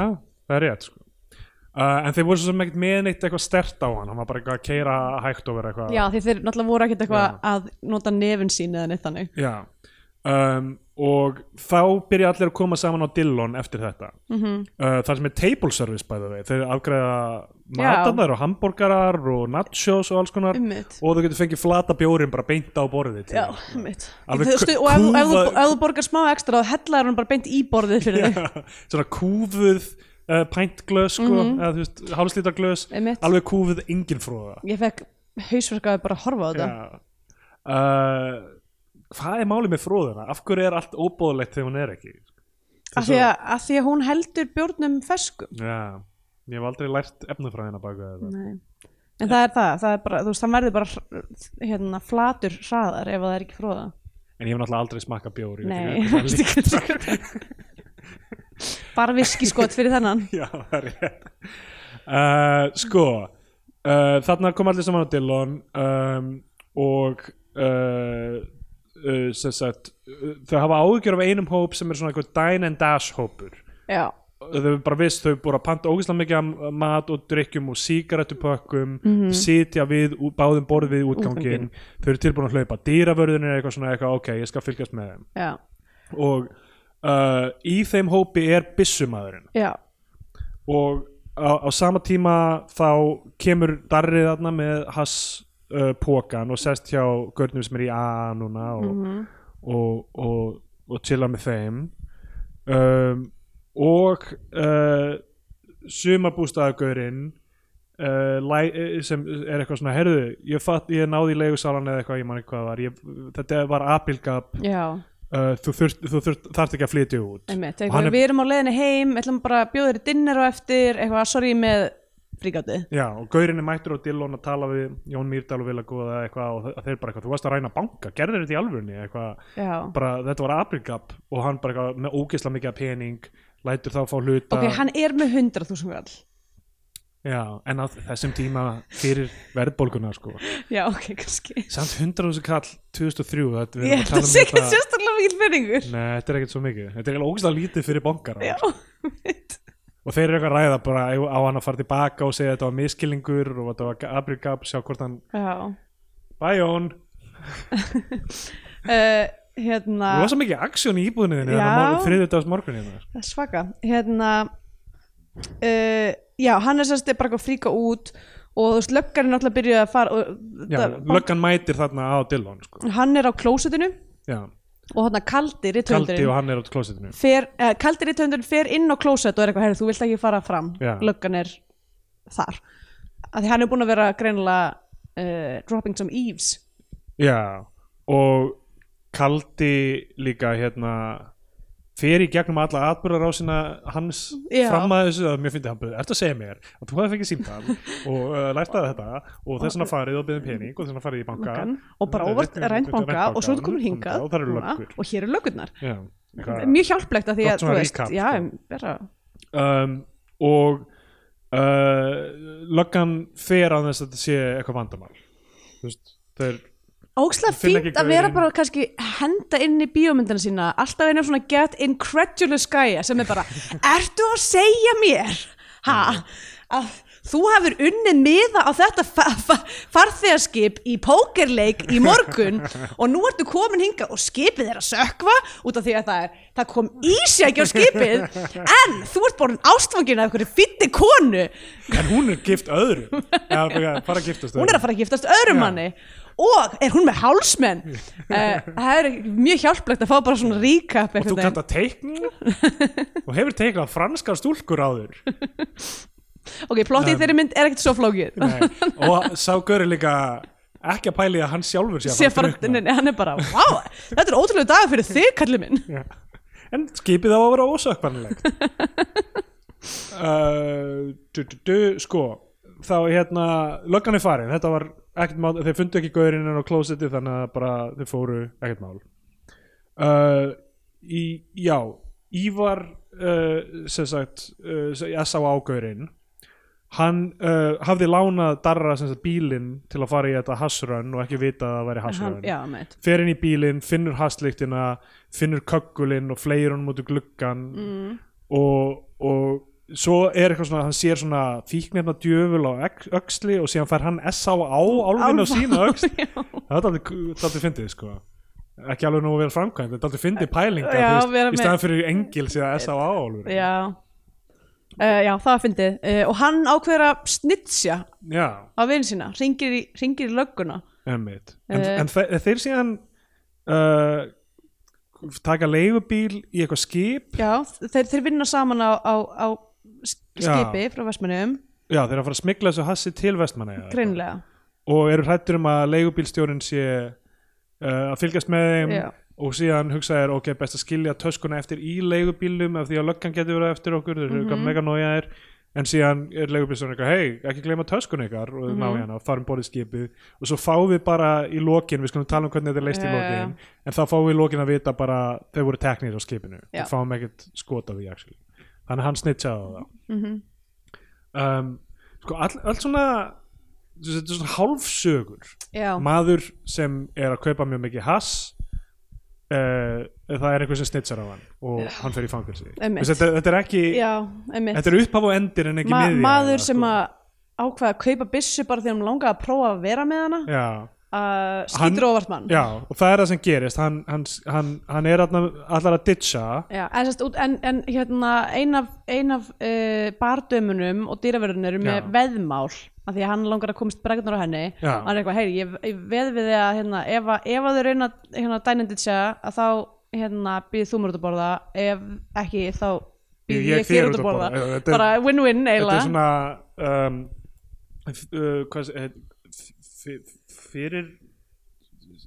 það er rétt sko. uh, En þeir voru svo sem ekkert með neitt eitthvað stert á hann Hann var bara eitthvað að keira hægt over eitthvað Já því þeir náttúrulega voru ekkert Já. eitthvað að nota nefin sín eða neitt þannig Já. Um, Og þá byrja allir að koma saman á Dillon eftir þetta Mhm. -hmm. uh, Það sem er table service bæði við Þeir afgreða matarnar og hambúrgarar og nachos og alls konar Einmitt. Og þau getur fengið flata bjórin bara beint á borðið til Já, þeirra. mitt Alveg Þau stu- kú- Og ef, ef, þú, kúfa- ef þú borgar smá ekstra þá hellar hann bara beint í borðið fyrir þig hérna. Svona kúfuð uh, pæntglös sko, eða þú veist, hálslítarglös Mhm. Einmitt. Alveg kúfuð engin fróða Ég fekk hausverkaði bara að horfa á þetta Já. Uh, hvað er málið með fróðuna? Af hverju er allt óbóðlegt þegar hún er ekki? af því, að, af því að hún heldur bjórnum ferskum Já, ég hef aldrei lært efnafræðina baka þetta. Nei. En það er það, það er bara, þú veist, það verður bara hr- hérna, flatur hraðar ef það er ekki fróða. En ég hef náttúrulega aldrei smakka bjór. ég veit Nei, þú ekki hvað veist það ekki hvað það er. Bara viski skot fyrir þennan. er. Já, það er rétt. Uh, sko, uh, þarna kom allir saman á Dillon um, og uh, uh, sem sagt, uh, þau hafa áhyggjur af einum hóp sem er svona eitthvað dine and dash hópur. Já, þau hefur bara vist, þau hefur búin að panta ógeðslega mikið af mat og drikkjum og sígarettupökkum mm sitja við, ú- báðum borð við útgangin Mhm. Útganginn. þau eru tilbúin að hlaupa dýravörðin er eitthvað svona eitthvað, ok, ég skal fylgjast með þeim já, og uh, í þeim hópi er byssumadurinn já, og á, á sama tíma þá kemur darrið þarna með hass uh, pókan og sest hjá görnum sem er í AA núna Mhm. og, Mm. og, og, og chilla með þeim um, og uh, sumabústaðagörinn Uh, læ, eh, sem er eitthvað svona herðu, ég, fatt, ég náði í leigusalan eða eitthvað, ég man ekki hvað það var ég, þetta var apilgap já, uh, þú, þurft, þú þurft, þarft ekki að flytja út einmitt. Og hann Eitthvað, er- Við erum á leiðinni heim, ætlum bara að bjóða þér í dinner á eftir, eitthvað, sorry með fríkátið. Já, og gaurinn er mættur á Dillon að tala við Jón Mýrdal og Vila Góða eitthvað og þe- þeir bara eitthvað, þú varst að ræna banka, gerðir þetta í alvörunni eitthvað, Já. bara þetta var Abrigab og hann bara eitthvað með ógeðsla mikið af pening lætur þá fá hluta Ok, hann er með 100.000 kall. Já, en á þessum tíma fyrir verðbólguna sko Já, ok, kannski. samt 100.000 kall 2003 þetta, við Ég erum held að um sé ekki eitthvað- sérstaklega mikið fyrringur. Nei, þetta er ekkert svo mikið, þetta er eiginlega ógeðsla lítið fyrir bankara Já, mitt. og þeir eru eitthvað að ræða bara á hann að fara tilbaka og segja þetta var miskillingur og þetta var Abrigab, sjá hvort hann Já. Bye Jón, Uh, hérna. þú var svo mikið aksjón í íbúðinni hérna þinni Já. þriðudags morgun hérna Það er svaka hérna uh, já, hann er sérst bara eitthvað að fríka út og þú veist, löggarinn náttúrulega byrjuði að fara og, Já, það- löggan mætir þarna á Dillon sko. hann er á klósutinu Já, og hann kaldi Kaldi og rithöndurinn hann er á klósitinu fer, eh, kaldi rithöndurinn fer inn á klóset og er eitthvað, herri, þú vilt ekki fara fram Já. löggan er þar af því hann er búin að vera greinilega uh, dropping some eaves Já, og Kaldi líka hérna fer í gegnum alla atbyrðarásina hans Já. fram að þessu að mér fyndi hann byrði, ertu að segja mér að þú hefði fengið símtal og uh, lært að þetta og þess vegna farið og byrðið pening og þess vegna farið í banka löggan, og bara óvart um ræntbanka og svo er þetta komin hingað og það eru núna, löggur og hér eru löggurnar Já, eitthvað- mjög hjálplegt að því Gott að, þú svona veist, recap, já, sko. bara um, og uh, löggan fer að þess að þetta sé eitthvað vandamál þú veist, þeir Ógslag Ég finn ekki fínt að vera gaurinn. bara kannski henda inn í bíómyndina sína alltaf einu svona get incredulous gæja sem er bara, ertu að segja mér ha, að þú hefur unnið miða á þetta fa fa farþegarskip í pókerleik í morgun og nú ertu komin hinga og skipið er að sökva út af því að það, er, það kom ísjækja á skipið en þú ert borin ástfangin af einhverju fytti konu en hún er gift öðrum eða bara- bara giftast hún er að fara að giftast öðrum Já. manni og er hún með hálsmenn uh, það er mjög hjálplegt að fá bara svona recap og þú kannt að teikna og hefur teiknað franskar stúlkur áður ok, plottið í þeirri mynd er ekkert svo flókið Nei. og sá Göri líka ekki að pæli að hann sjálfur sé að Sé fara bara, að drukkna. nei, nei, hann er bara, wow þetta er ótrúlega dag fyrir þig, kallið minn Já. En skipið á að vera ósökkbarnilegt uh, du, du, du, Sko Þá hérna, löggan er farin Þetta var ekkert mál, þeir fundu ekki gaurinn en á klósetti þannig að bara þeir fóru ekkert mál uh, í, Já Ívar uh, sem sagt, uh, ég sá ágaurinn hann uh, hafði lánað darra sem sagt bílinn til að fara í þetta hasrönn og ekki vita að það væri hann, hasrönn já, meitt fer inn í bílinn, finnur hastlíktina finnur köggulinn og fleir honum út úr gluggan mm. og, og svo er eitthvað svona hann sér svona fíknefna djöful á öx- öxli og síðan fær hann S.A. á álfinu á sína öxl það er aldrei, aldrei fyndið sko ekki alveg nú vel framkvæmt, þetta er aldrei fyndið pælinga Já, þú vera í með- staðan fyrir engil síðan S.A. á álfinu já Uh, já, það er fyndið uh, og hann ákveður að snitsja já á vinn sína, ringir í, ringir í lögguna Einmitt. En, Eh. en þe þeir síðan uh, taka leigubíl í eitthvað skip já, þeir, þeir vinna saman á, á, á sk- Já. skipi frá Vestmannum já, þeir eru að fara að smigla þessu hassi til vestmanna greinlega, og eru hrættur um að leigubílstjórin sé uh, að fylgjast með þeim Já. og síðan hugsa þér ok, best að skilja töskuna eftir í leigubílum af því að löggan getur verið eftir okkur þeir eru mm -hmm. mega nójaðir en síðan er leigubílstjórin eitthvað, hei, ekki gleyma töskuna ykkar og mm -hmm. ná í hana og farum borðið skipið og svo fáum við bara í lokin, við skulum tala um hvernig þetta er leist í Já, já. lokin en þá fáum við í lokin að vita bara þau voru teknir á skipinu Já. við fáum ekkert skot af því actually. þannig að hann snitchaði á það Mhm. um, sko, all, allt svona þetta er svona hálfsögur já, maður sem er að kaupa mjög mikið hass uh, það er eitthvað sem snitsar á hann og hann fer í fangilsi Einmitt. þetta, þetta er ekki já, einmitt þetta er upphaf og endir en ekki Ma miðja sko. maður sem að ákvaða að kaupa byssu bara þegar hún langaði að prófa að vera með hana já, uh, Hann- skýtur óvart mann já, og það er það sem gerist hann, hann, hann, hann er allar, allar að ditcha Já, en, sest, út- en, en hérna ein af, ein af uh, bardömunum og dýraverðunum eru með Já. veðmál af því að hann langar að komast bregðnar á henni Já. og hann er eitthvað, heyri, ég, ég veð við þig að hérna, ef, að- ef að þau reyna hérna, dænendit sé að þá hérna, býð þú mér út að borða ef ekki þá býð Ég- ég, ég þér út að borða, Já, þetta er- bara win-win þetta eiginlega er svona um, f- uh, hvað sé- eh, f- f- fyrir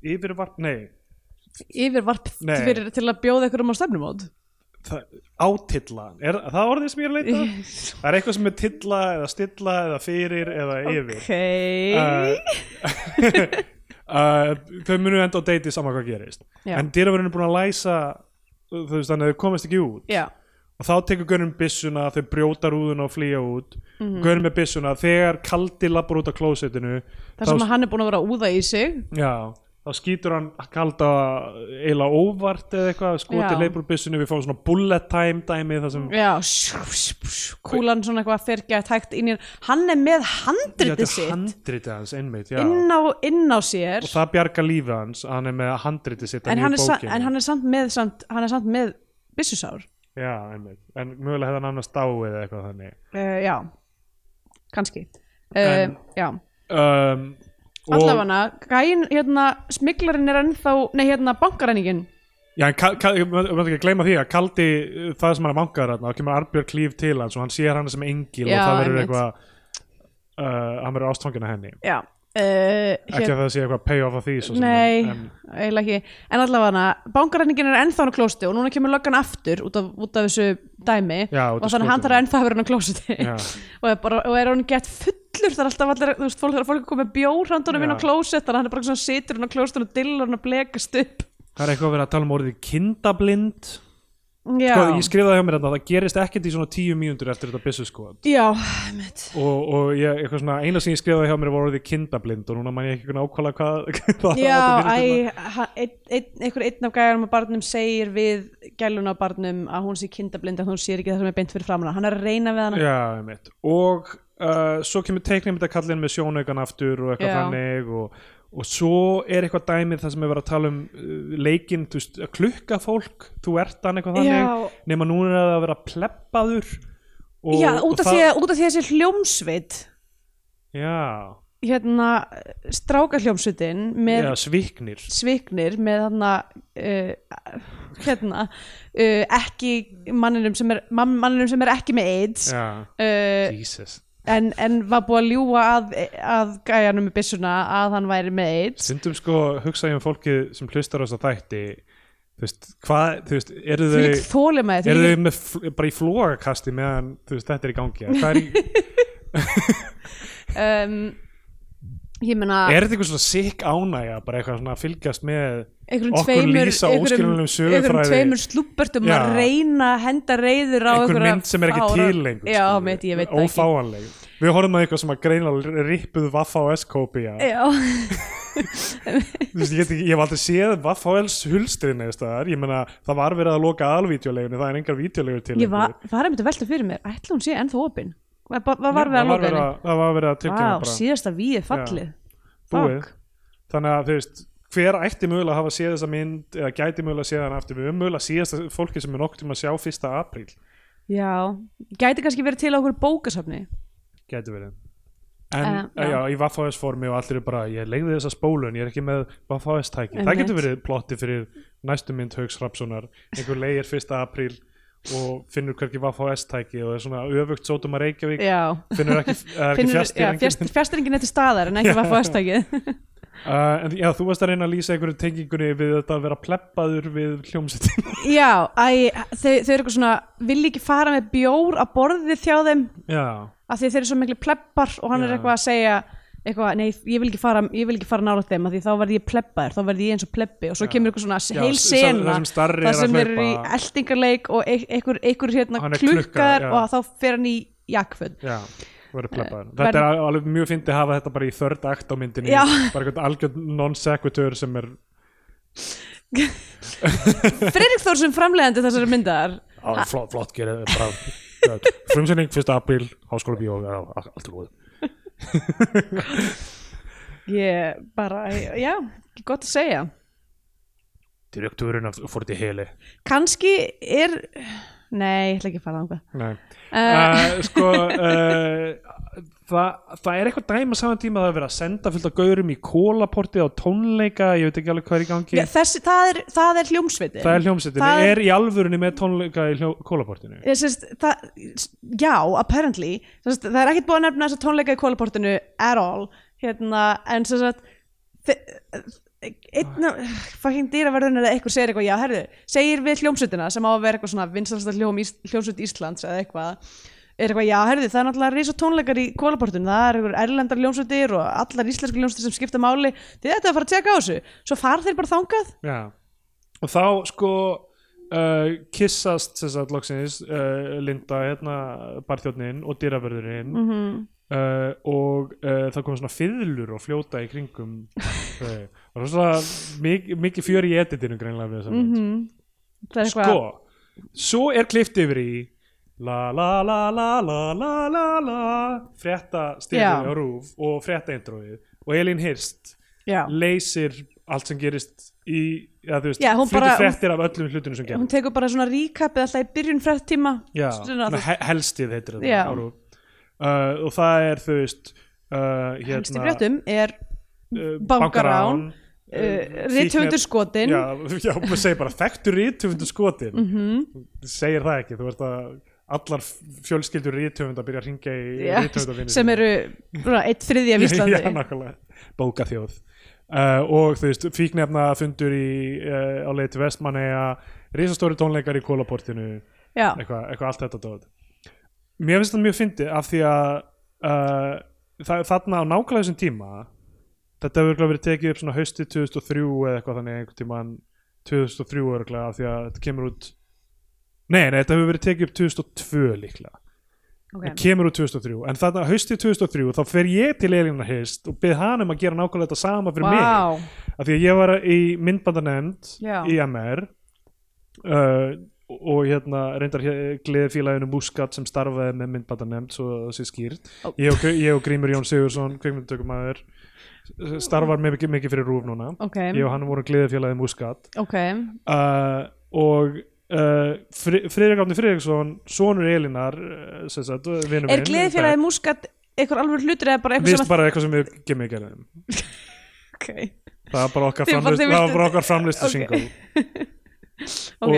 yfirvarp, nei yfirvarp Nei. fyrir, til að bjóða ykkur um á stefnumót það, átilla, er það orðið sem ég er að leita? Það er eitthvað sem er tilla eða stilla eða fyrir eða yfir ok Eh, uh, Þau munu enda á deiti saman hvað gerist Já. En dýravörun er búin að læsa uh, þú veist, þannig að þau komast ekki út já, og þá tekur görnum byssuna, þau brjóta rúðuna og flýja út mm Mhm. -hmm. görnum með byssuna, þegar kaldi lappar út af klósettinu þar sem þá, að hann er búin að vera að úða í sig já, þá skýtur hann kalda eila óvart eða eitthvað, Já. skotið leipur úr byssunni við fáum svona bullet time dæmi þar sem já, sjú, sjú, sjú, kúlan svona eitthvað fer gætt hægt inn í hann. hann er með handritið Þetta er sitt handritið hans einmitt, já inn á, inn á sér og það bjarga lífi hans að hann er með handritið sitt en hann, er, sa- bókin en hann er samt með samt, hann er samt með byssusár já, einmitt. en mögulega hefði hann annars dáið eða eitthvað þannig uh, já, kannski uh, En- já um, og, Allafana, gæin, hérna, smiklarinn er ennþá, nei hérna, bankaræningin já, en Ka- Ka- ég maður ekki að gleyma því að Kaldi uh, það sem hann er bankar þarna, þá kemur Arbjörg Klíf til hans og hann sér hann sem engil Já, og það verður einmitt. eitthvað uh, hann verður ástfangin að henni já, uh, ekki að það sé eitthvað payoff af því svo sem, Nei, en, eiginlega ekki En allavega bankrænningin er ennþá hann á klósti og núna kemur löggan aftur út af, út af þessu dæmi Já, út og af þannig að hann skotinu. þarf ennþá að vera hann á klósti Já. og, er bara, og er hann gett fullur þar er alltaf allir, þú veist, fólk, það er fólk að koma með bjór handunum inn á Já. klósett þannig að hann er bara svona situr hann á klósett og dillar hann að blekast upp það er eitthvað að vera að tala um orðið kindablind Já, Sko, ég skrifaði hjá mér þetta, það gerist ekkert í svona tíu mínútur eftir þetta byssu sko já, mitt og, og ég, eitthvað svona, eina sem ég skrifaði hjá mér var orðið kindablind og núna man ég ekki hvernig ákvæmlega hvað hvað Já, það átti fyrir æ, hann- einn- einn- einhver einn af gæjarum á barnum segir við gælun á barnum að hún sé kindablind að hún sé ekki það sem er beint fyrir framanna hann er að reyna við hana þetta. Já, einmitt. og uh, svo kemur teiknum þetta kallin með sjónaukan aftur og eitthvað Já. þannig og, og svo er eitthvað dæmið það sem er verið að tala um uh, leikinn, þú veist, að klukka fólk þú ert hann eitthvað Já. þannig nema núna er það að vera pleppaður og, Já, út og af því að- út af því að þessi hljómsveit Já, hérna strákahljómsutin með eða sviknir sviknir með þarna uh, hérna uh, ekki manninum sem er man, manninum sem er ekki með AIDS já, uh, Jesus en, en var búið að ljúga að, að gæjanum með byssuna að hann væri með AIDS stundum sko hugsa ég um fólkið sem hlustar á þess að þætti þú veist, hvað, þú veist, eru því lík þau þólimaði eru því þau með, fl- bara í flóakasti meðan, þú veist, þetta er í gangi eða hvað er, í, um, ég meina er þetta eitthvað svona sikk ánægja bara eitthvað svona að fylgjast með einhverjum okkur tveimur, lýsa óskiljanlegum sögufræði? einhverjum tveimur slúbertum að Já. reyna að henda reyður á einhver einhverja mynd sem er ekki fára- til lengur já, skilurðu, meit, ég veit það ekki ófáanleg við horfum að eitthvað sem að greina rippuð Vaffa og S-kópi ég, já, get ekki- ég hef aldrei séð Vaffa og S-hulstrin ég meina það var verið að loka alvídeolegunni það er engar vídeolegur til ég var, lengur. var einmitt að velta fyrir mér ætla hún sé ennþá opin hvað hvað- hvað var Nei, við að það lóka verið henni? að- það var verið að tilkynna Vá, síðasta víð er fallið búið Fuck. þannig að þú veist hver ætti mögulega að hafa séð þessa mynd eða gæti mögulega að séð hann aftur við höfum mögulega síðast fólki sem er nokkuð tíma að sjá 1. apríl Já, gæti kannski verið til á okkur bókasafni gæti verið en Eh, já. já. Já, í Vaffáðs formi og allir er bara ég legði þessa spólu en ég er ekki með Vaffáðs tæki það Einmitt. getur verið plotti fyrir næstu mynd Hauks Rapssonar einhver leigir 1. apríl og finnur hverki Vaffáðs tæki og er svona öfugt sótum að Reykjavík Já, finnur ekki, er ekki Finnur- fjastir já, fjast- fjastiringin eftir staðar en ekki var fastækið Uh, en já, þú varst að reyna að lýsa einhverju tengingunni við þetta að vera pleppaður við hljómsettin Já, æ, þau, þau eru eitthvað svona vilja ekki fara með bjór á borðið þjá þeim Já, af því þeir eru svo miklu pleppar og hann er Já. eitthvað að segja eitthvað, nei, ég vil ekki fara, ég vil ekki fara nála þeim af því þá verð ég pleppaður, þá verð ég eins og pleppi og svo kemur eitthvað svona Já, heil s- sena það sem starri er þar að sem þeir eru í hlaupa. eldingarleik og eit- einhver, einhver hérna Hann er klukkaður klukkaður, já. og þá fer hann í jakföld já, Eh, verið pleppaður Þetta er al- alveg mjög fyndið að hafa þetta bara í þörd akt á myndinni Já. bara einhvern algjörn non-sequitur sem er Fredrik Þór sem framlegandi þessari myndar á, flott, flott gerið bara, frumsynning 1. apríl háskóla bíó, já, allt er góð Ég bara, já, ekki gott að segja direktúrin fór til heli kannski er Nei, ég ætla ekki að fara þangað Nei, uh, uh, sko uh, það, það er eitthvað dæma saman tíma að það er verið að senda fullt af gaurum í kólaportið á tónleika ég veit ekki alveg hvað er í gangi já, þessi, það, er, það er hljómsveitin Það er hljómsettinni, Það- er í alvörunni með tónleika í hljó, kólaportinu Ég sést, það, já, apparently sést, það er ekkert búið að nefna þessa tónleika í kólaportinu at all hérna, en sem sagt þe- einn af fucking dýraverðun er að eitthvað segir eitthvað, já, herðu, segir við hljómsutina sem á að vera eitthvað svona vinsalasta hljóm Ís, hljómsut Íslands eða eitthvað er eitthvað, já, herðu, það er náttúrulega risa tónleikar í kólaportinu, það er eitthvað erlendar hljómsutir og allar íslenski hljómsutir sem skipta máli þið ættu að fara að tjekka á þessu, svo far þeir bara þangað Já Og þá sko uh, kissast sem sagt loksins uh, Linda, hérna, barþjóðnin og dýravörðurinn -hmm. uh, og uh, það kom svona fiðlur og fljóta í kringum þau og svona mik mikið fjör í editinu greinlega við þess að Mm það er eitthvað sko, svo er klift yfir í la la la la la la la la frétta styrðið Já. á rúf og frétta introið og Elín Hirst já. leysir allt sem gerist í, eða þú veist, Já, hún flytur bara- fréttir af öllum hlutunum sem hún gerist tekur bara svona recapið alltaf í byrjun fréttíma já, Svona svona alltaf- he- helstið heitir Já. þetta á rúf uh, og það er þú veist uh, hérna, helsti fréttum er uh, bankarán, uh, uh, fíkniefn- rithöfundur skotinn já, já, maður segir bara þekktur rítöfundur skotin Mhm. segir það ekki, þú ert að allar fjölskyldur rítöfund að byrja að ringja í Já, rítöfundavinni sem eru svona, eitt þriði af Íslandi Já, nákvæmlega, bókaþjóð uh, og þú veist, fíknefna fundur í, uh, á leið til Vestmanneia risastóri tónleikar í kólaportinu já, eitthvað eitthva allt þetta dót Mér finnst það mjög fyndið af því að uh, það, þarna á nákvæmlega þessum tíma þetta hefur örugglega verið tekið upp svona haustið 2003 eða eitthvað þannig einhvern tímann 2003 örgulega af því að þetta kemur út Nei, nei, þetta hefur verið tekið upp 2002 líklega ok en kemur úr 2003 en þarna haustið 2003 þá fer ég til Elina Hirst og byrð hann um að gera nákvæmlega þetta sama fyrir mig wow. af því að ég var í myndbandanefnd Já. í MR uh, og hérna reyndar gleði félaginu Muscat sem starfaði með myndbandanefnd svo það sé skýrt Ó. ég, og, ég og Grímur Jón Sigursson kveikmyndutökumæður starfar með mikið, mikið fyrir rúf núna ok, ég og hann voru gleði félagið Muscat ok uh, og uh, Fri- Friðrik Átni Friðriksson sonur Elinar uh, sem sagt, vinur er minn, gleðifélagi Muscat eitthvað alveg hlutur eða bara Mér eitthvað finnst bara eitthvað sem við gemið gerðum að ok, það var bara okkar Þið bara- framlist þið það var vildu- bara okkar framlist Ok. single ok og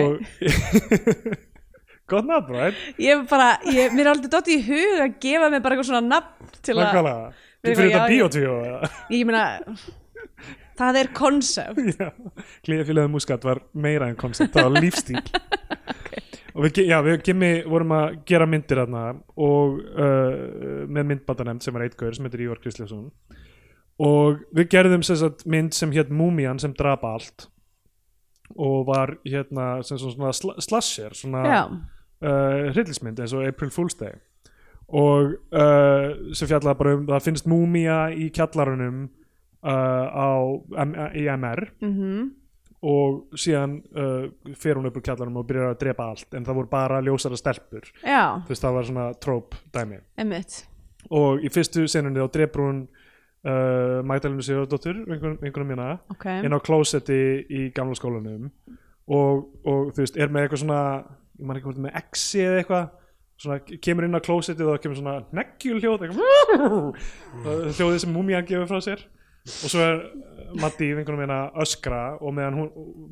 gott nafn, right? ég er bara, ég, mér er aldrei dottið í hug að gefa mig bara eitthvað svona nafn til að, Nákvæmlega Við Þið fyrir eitthvað, já, þetta já. bíotvíó eða? ég meina það er konsept Já. Klíðafélagið Múskat var meira en koncept það var lífstíl og við, ge- já, við Gimmi vorum að gera myndir þarna og uh, með myndbandanemnd sem er eitgöður sem heitir Ívar Kristjánsson og við gerðum sem sagt, mynd sem hétt Múmían sem drapa allt og var hérna sem svona sl slasher svona já, uh, hryllismynd eins og April Fool's Day og uh, sem fjallaði bara um það finnst múmía í kjallarunum uh, á M í MR mhm og síðan uh, fer hún upp úr kjallarunum og byrjar að drepa allt en það voru bara ljósara stelpur já, þú veist það var svona tróp dæmi emmitt og í fyrstu senunni þá drepur hún uh, Magdalenu Sigurdóttur einhvern mína ok, inn á klósetti í gamla skólanum og, og þú veist, er með eitthvað svona ég man ekki hvort með exi eða eitthvað svona kemur inn á klósetti og það kemur svona neggjuljóð eitthvað, það er hljóðið sem múmían gefur frá sér og svo er Matti í vingunum hérna að öskra og meðan hún,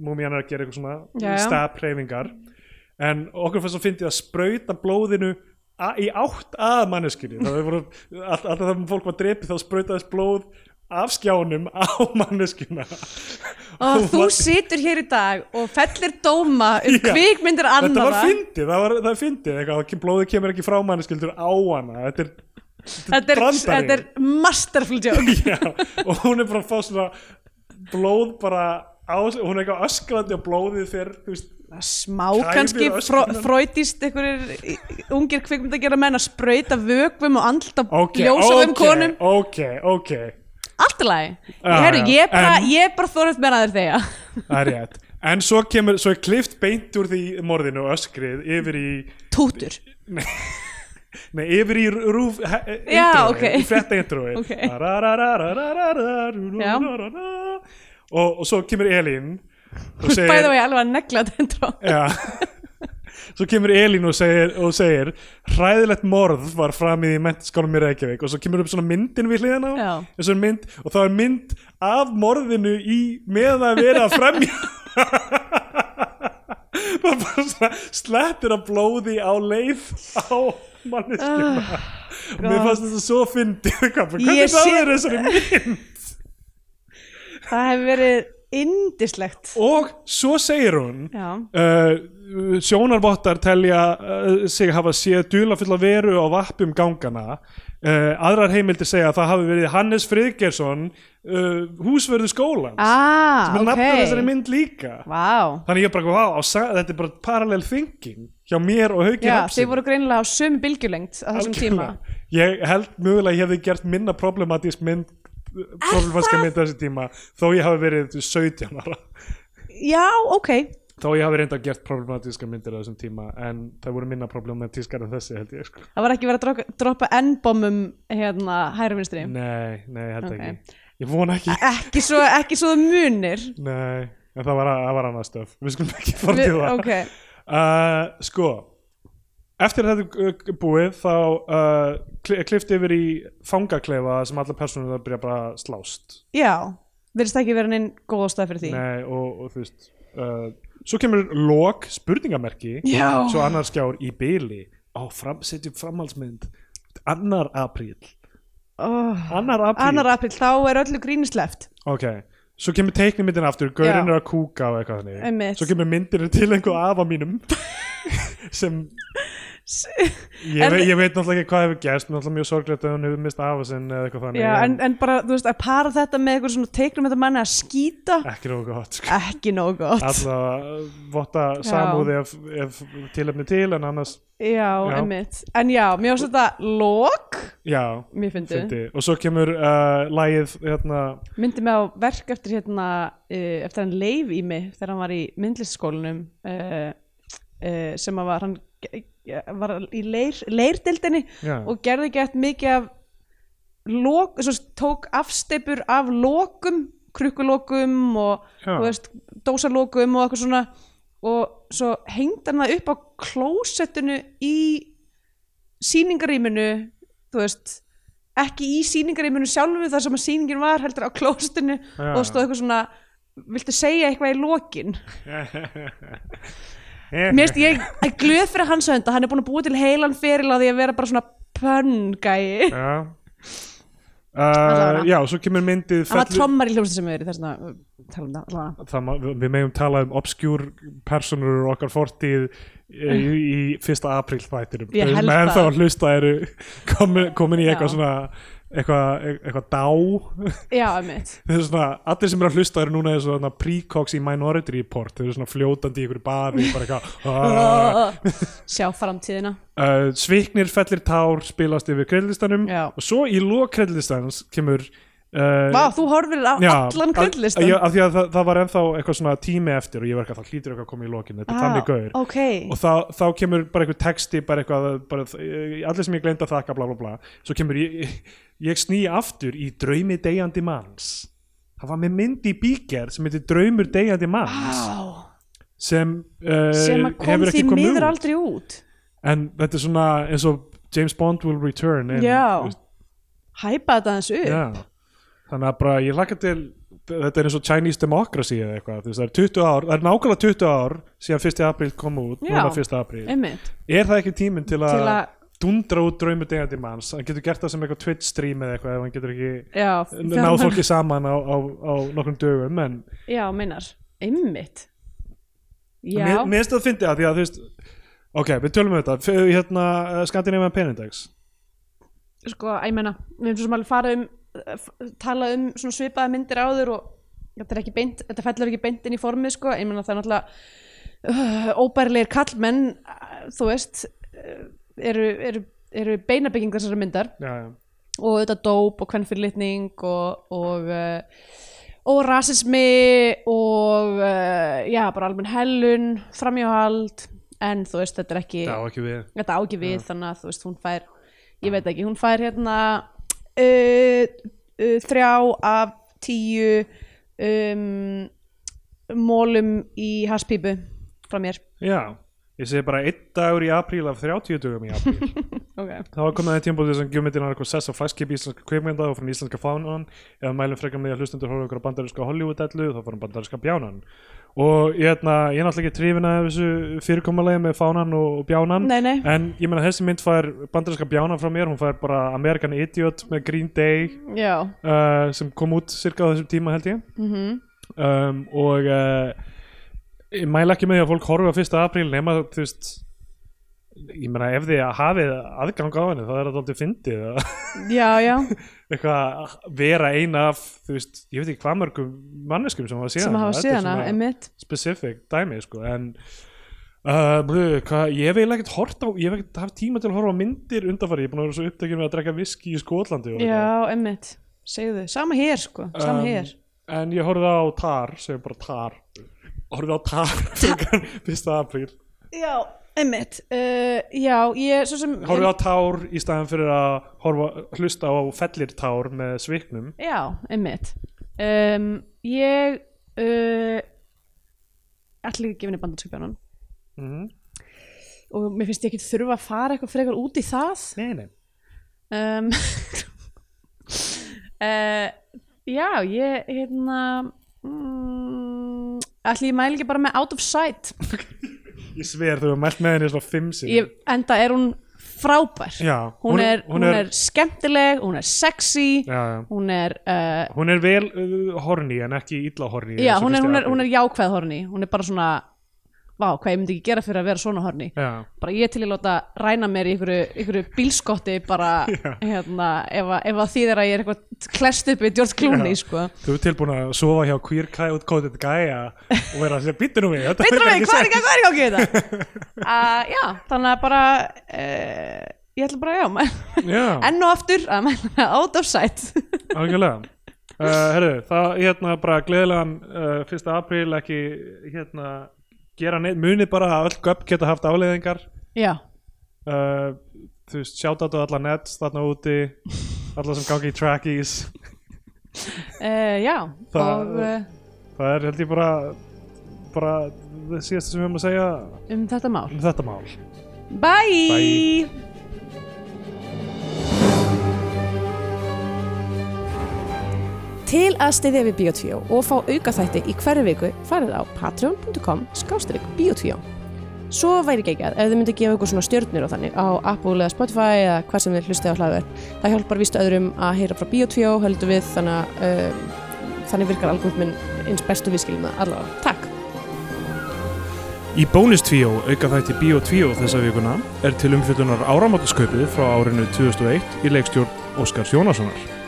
múmían er að gera eitthvað Já, já. svona stab hreyfingar en okkur fannst að fyndi að sprauta blóðinu a- í átt að manneskunni það voru allt- alltaf það fólk var drepið þá sprautaðist blóð af skjánum á manneskuna og þú Matti- situr hér í dag og fellir dóma um Já. kvikmyndir þetta var annara fyndið, það var, það er fyndið eitthvað, ekki- blóðið kemur ekki frá manneskildur á hana þetta er, þetta er, brandari. þetta er masterful joke já, og hún er bara að fá svona blóð bara á, hún er eitthvað öskrandi og blóðið fyrir, þú veist smá Kæfir kannski fró, öskunan. fróitist einhverjir ungir kvikmynd að gera menn að sprauta vökvum og andlita ok, okay, ljósaðum konum ok, ok, allt í lagi, Já, Herru, já, ég er bara, en- ég er bara þorðið með aður þegar það er rétt en svo kemur, svo er klift beint úr því morðinu og öskrið yfir í tútur Nei, yfir í rúf he- e- Já, introið, ok. í frétta introið Ok. Já. og, og svo kemur Elín og bæði segir Eh. og ég alveg að negla þetta intro. já, svo kemur Elín og segir, og segir hræðilegt morð var framið í mentaskólum í Reykjavík og svo kemur upp svona myndin við hliðan á Já. eins og er mynd, og það er mynd af morðinu í með að vera að fremja það er bara svona slettir af blóði á leið á manneskjum og mér Ah, God. fannst þetta svo fyndið hvað- Ég hvernig það sé- er þessari mynd það hefur verið indislegt og svo segir hún já, uh, sjónarvottar telja uh, sig hafa séð dulafulla veru á vappum gangana uh, aðrar heimildir segja að það hafi verið Hannes Friðgersson uh, húsverðu skólans ah, sem er ok nafn á þessari mynd líka Vá. þannig ég er bara, wow, á, sa- þetta er bara parallel thinking hjá mér og Hauki já, Hrafnssyni. þið voru greinilega á sömu bylgjulengd á þessum tíma Algjörlega. ég held mögulega að ég hefði gert minna problematísk mynd eh, problematíska mynd á þessi tíma þó ég hafi verið 17 ára já, ok, þó ég hafi reynda gert problematíska myndir á þessum tíma en það voru minna problematískar en þessi held ég sko. það var ekki verið að droppa, droppa n-bombum hérna hægri vinstri nei, nei, ég held Ok. ekki ég vona ekki, ekki svo, ekki svo það munir nei en það var, það var annað stöf, við skulum ekki fara til Við- það ok, uh, sko eftir að þetta uh, búið þá uh, kli- klippti yfir í fangaklefa sem allar persónum það byrja bara að slást já verðist ekki verið neinn góð ástæð fyrir því Nei, og, og þú veist uh, Svo kemur lok spurningamerki já, Svo annar skjár í byli Á, fram, setjum framhaldsmynd Annar apríl oh. Annar apríl annar april, þá er öllu grínisleft Ok, svo kemur teiknumyndin aftur Gaurinn Já. er að kúka og eitthvað þannig Einmitt. Svo kemur myndir til einhver afa mínum Sem ég, En- veit, ég veit náttúrulega ekki hvað hefur gerst Náttúrulega mjög sorglegt að hún hefur mist afa sinn Eða eitthvað þannig já, en, en bara, þú veist, að para þetta með eitthvað svona teiknum þetta manni að skýta Ekki nógu gott sko. ekki nóg gott Alla votta Já. samúði ef, ef tilefni til En annars, já, einmitt, en já, mér finnst þetta lok, já mér fyndi Fyndi. og svo kemur uh, lagið hérna, myndi mig á verk eftir hérna uh, eftir hann leif í mig þegar hann var í myndlistskólanum uh, uh, sem að var hann ge- ge- var í leir, leirdildinni Já. og gerði gett mikið af lok, svo, sagt, tók afsteipur af lokum, krukkulokum og Já. þú veist, dósalokum og eitthvað svona og svo hengd hann það upp á klósettinu í síningarýminu þú veist ekki í sýningarýminu sjálfu þar sem að sýningin var heldur á klóstinu Já. og stóð eitthvað svona viltu segja eitthvað í lokin Eh, mér finnst ég er glöð fyrir hans hönda, hann er búin að búa til heilan feril á því að vera bara svona pöngæi, já Allavega. uh, já, svo kemur myndið hann var fellur- trommar í hljómsið sem við erum þess að tala um það allavega. það, má- við við megum tala um obskjúr personur úr okkar fortíð eh, í, í fyrsta apríl þættinum Ég held menn þá það. hlusta eru komin, komin í eitthvað Já. svona eitthvað eitthva dá já, einmitt Þeir eru svona, allir sem eru að hlusta eru núna þessu svona precox í minority report þeir eru svona fljótandi í einhverju baði bara eitthvað uh, sjá framtíðina Eh, sviknir fellir tár spilast yfir kreðlistanum Já. og svo í lók kreðlistans kemur uh, Vá, þú horfir á Já, allan að- kvöldlistan já, af því að það, það var ennþá eitthvað svona tími eftir og ég var ekki að það hlýtur eitthvað að koma í lokin þetta er þannig gaur ok, og þá, þá kemur bara einhver texti bara eitthvað, bara, eh, allir sem ég gleymd að þakka bla bla bla, svo kemur ég, ég sný aftur í draumi deyjandi manns það var með mynd í bíker sem heitir draumur deyjandi manns Vá, sem, uh, Ah. sem að kom því hefur ekki komið út miður aldrei út en þetta er svona eins og James Bond will return en, já, hæpa þetta aðeins upp Já, þannig að bara ég hlakka til þetta er eins og Chinese Democracy eða eitthvað, þú veist, það er 20 ár, það er nákvæmlega 20 ár síðan 1. apríl kom út, Já. núna 1. apríl einmitt, er það ekki tíminn til að, til að dundra út draumur degandi manns, hann getur gert það sem eitthvað Twitch stream eða eitthvað, ef hann getur ekki já, náð fólki saman á, á, á nokkrum dögum, en já, meinar, einmitt já, mér mér finnst það að fyndi það, því að þú veist ok, við tölum um þetta, F- hérna Skandinavian Penindex, sko, ég meina við erum svo sem alveg farið um f- talað um svona svipaða myndir áður og þetta er ekki beint, þetta fellur ekki beint inn í formið sko, ég meina það er náttúrulega uh, óbærilegir kallmenn uh, þú veist uh, eru, eru, eru beinabyggingar þessara myndar já, já og auðvitað dóp og kvennfyrirlitning og og, uh, og rasismi og uh, já, bara almenn hellun framjáhald, en þú veist þetta er ekki það á ekki við þetta á ekki við þannig að þú veist hún fær ég veit ekki, hún fær hérna uh, uh, þrjá af tíu um, mólum í haspípu frá mér já, ég segi bara einn dagur í apríl af 30 dögum í apríl okay. Það var komið að tímabótið sem gjömyndin er eitthvað sess á flagskipi íslenska kveikmynda og frá íslenska fánan eða mælum frekar með því að hlustendur horfa ykkur á bandarinska Hollywood-ellu þá fórum bandarinska bjánan og ég, hefna, ég er náttúrulega ekki trífin að þessu fyrirkomulegi með fánan og, og bjánan Nei, nei, en ég meina þessi mynd fær bandarinska bjánan frá mér hún fær bara American Idiot með Green Day já uh, sem kom út cirka á þessum tíma held ég mm um, og uh, ég mæla ekki með því að fólk horfi á 1. apríl nema þú veist ég meina ef þið hafið aðgang á henni þá er þetta aldrei fyndið að Já, já, eitthvað að vera eina af þú veist, ég veit ekki hvað mörgum manneskum sem hafa sem síðan hafa síðana, einmitt specific dæmi sko en Uh, blö, hvað, ég hef eiginlega ekkert hort á ég hef ekkert haft tíma til að horfa á myndir undanfari ég er búin að vera svo upptökjum með að drekka viski í Skotlandi og eitthvað. Já, einmitt, segðu þau Sama hér, sko, sama Um, hér en ég horfði á tar, segjum bara tar horfði á tar frekar 1. apríl Já, einmitt uh, Já, ég, svo sem horfði á tár í staðan fyrir að horfa, hlusta á fellir tár með sviknum Já, einmitt um, Ég uh, ætla ekki að gefa henni bandarskipjónan mm Mhm. og mér finnst ég ekki þurfa að fara eitthvað frekar út í það nei, nei. um, uh, Já, ég hérna mm, ætli ég mæli ekki bara með Out of Sight ég sver þú hefur mælt með henni svona fimm sinni ég, enda er hún frábær Já, hún, er, hún, er, skemmtileg, hún er sexy já, já. hún er uh, hún er vel uh, horny en ekki illa horny Já, eins og hún er, fyrsti hún, er, apríl. hún er jákvæð horni Hún er bara svona Vá, hvað ég myndi ekki gera fyrir að vera svona horni já, Bara ég til ég láta ræna mér í einhverju, einhverju bílskotti bara hérna, ef, að- ef að því þeirra ég er eitthvað klest upp við George Clooney Já. sko. þú ert tilbúin að sofa hjá queer cat coded gæja og vera að segja býttu nú við þetta Veitur virkar mig, hvað er sens." ekki hvað er ekki á geta? Uh, já, þannig að bara uh, ég ætla bara, já mæ- já, enn og aftur að mæla með out of sight algjörlega uh, herru, það hérna bara gleðilegan uh, 1. apríl ekki hérna gera neitt, munið bara að öll göpp geta haft afleiðingar Já, uh, þú veist, sjáta á alla nets þarna úti alla sem gangi í trackies uh, já Það- og uh, það er held ég bara bara það síðasta sem við höfum að segja um þetta mál um þetta mál Bye! Bye. Til að stiðja við Bíotvíó og fá aukaþætti í hverju viku farið á patreon.com skástrík Bíotvíó. Svo væri geggjað ef þið myndi gefa ykkur svona stjörnir og þannig á Apple eða Spotify eða hvað sem þið hlustið á hlaðverð. Það hjálpar víst öðrum að heyra frá Bíotvíó, höldum við, þannig að um, þannig virkar algoritminn eins bestu viðskilum það allavega. Takk! Í bónustvíó, auka þætti Bíotvíó þessa vikuna, er til umfjöldunar áramáttuskaupið frá árinu 2001 í leikstjórn Óskars Jónassonar.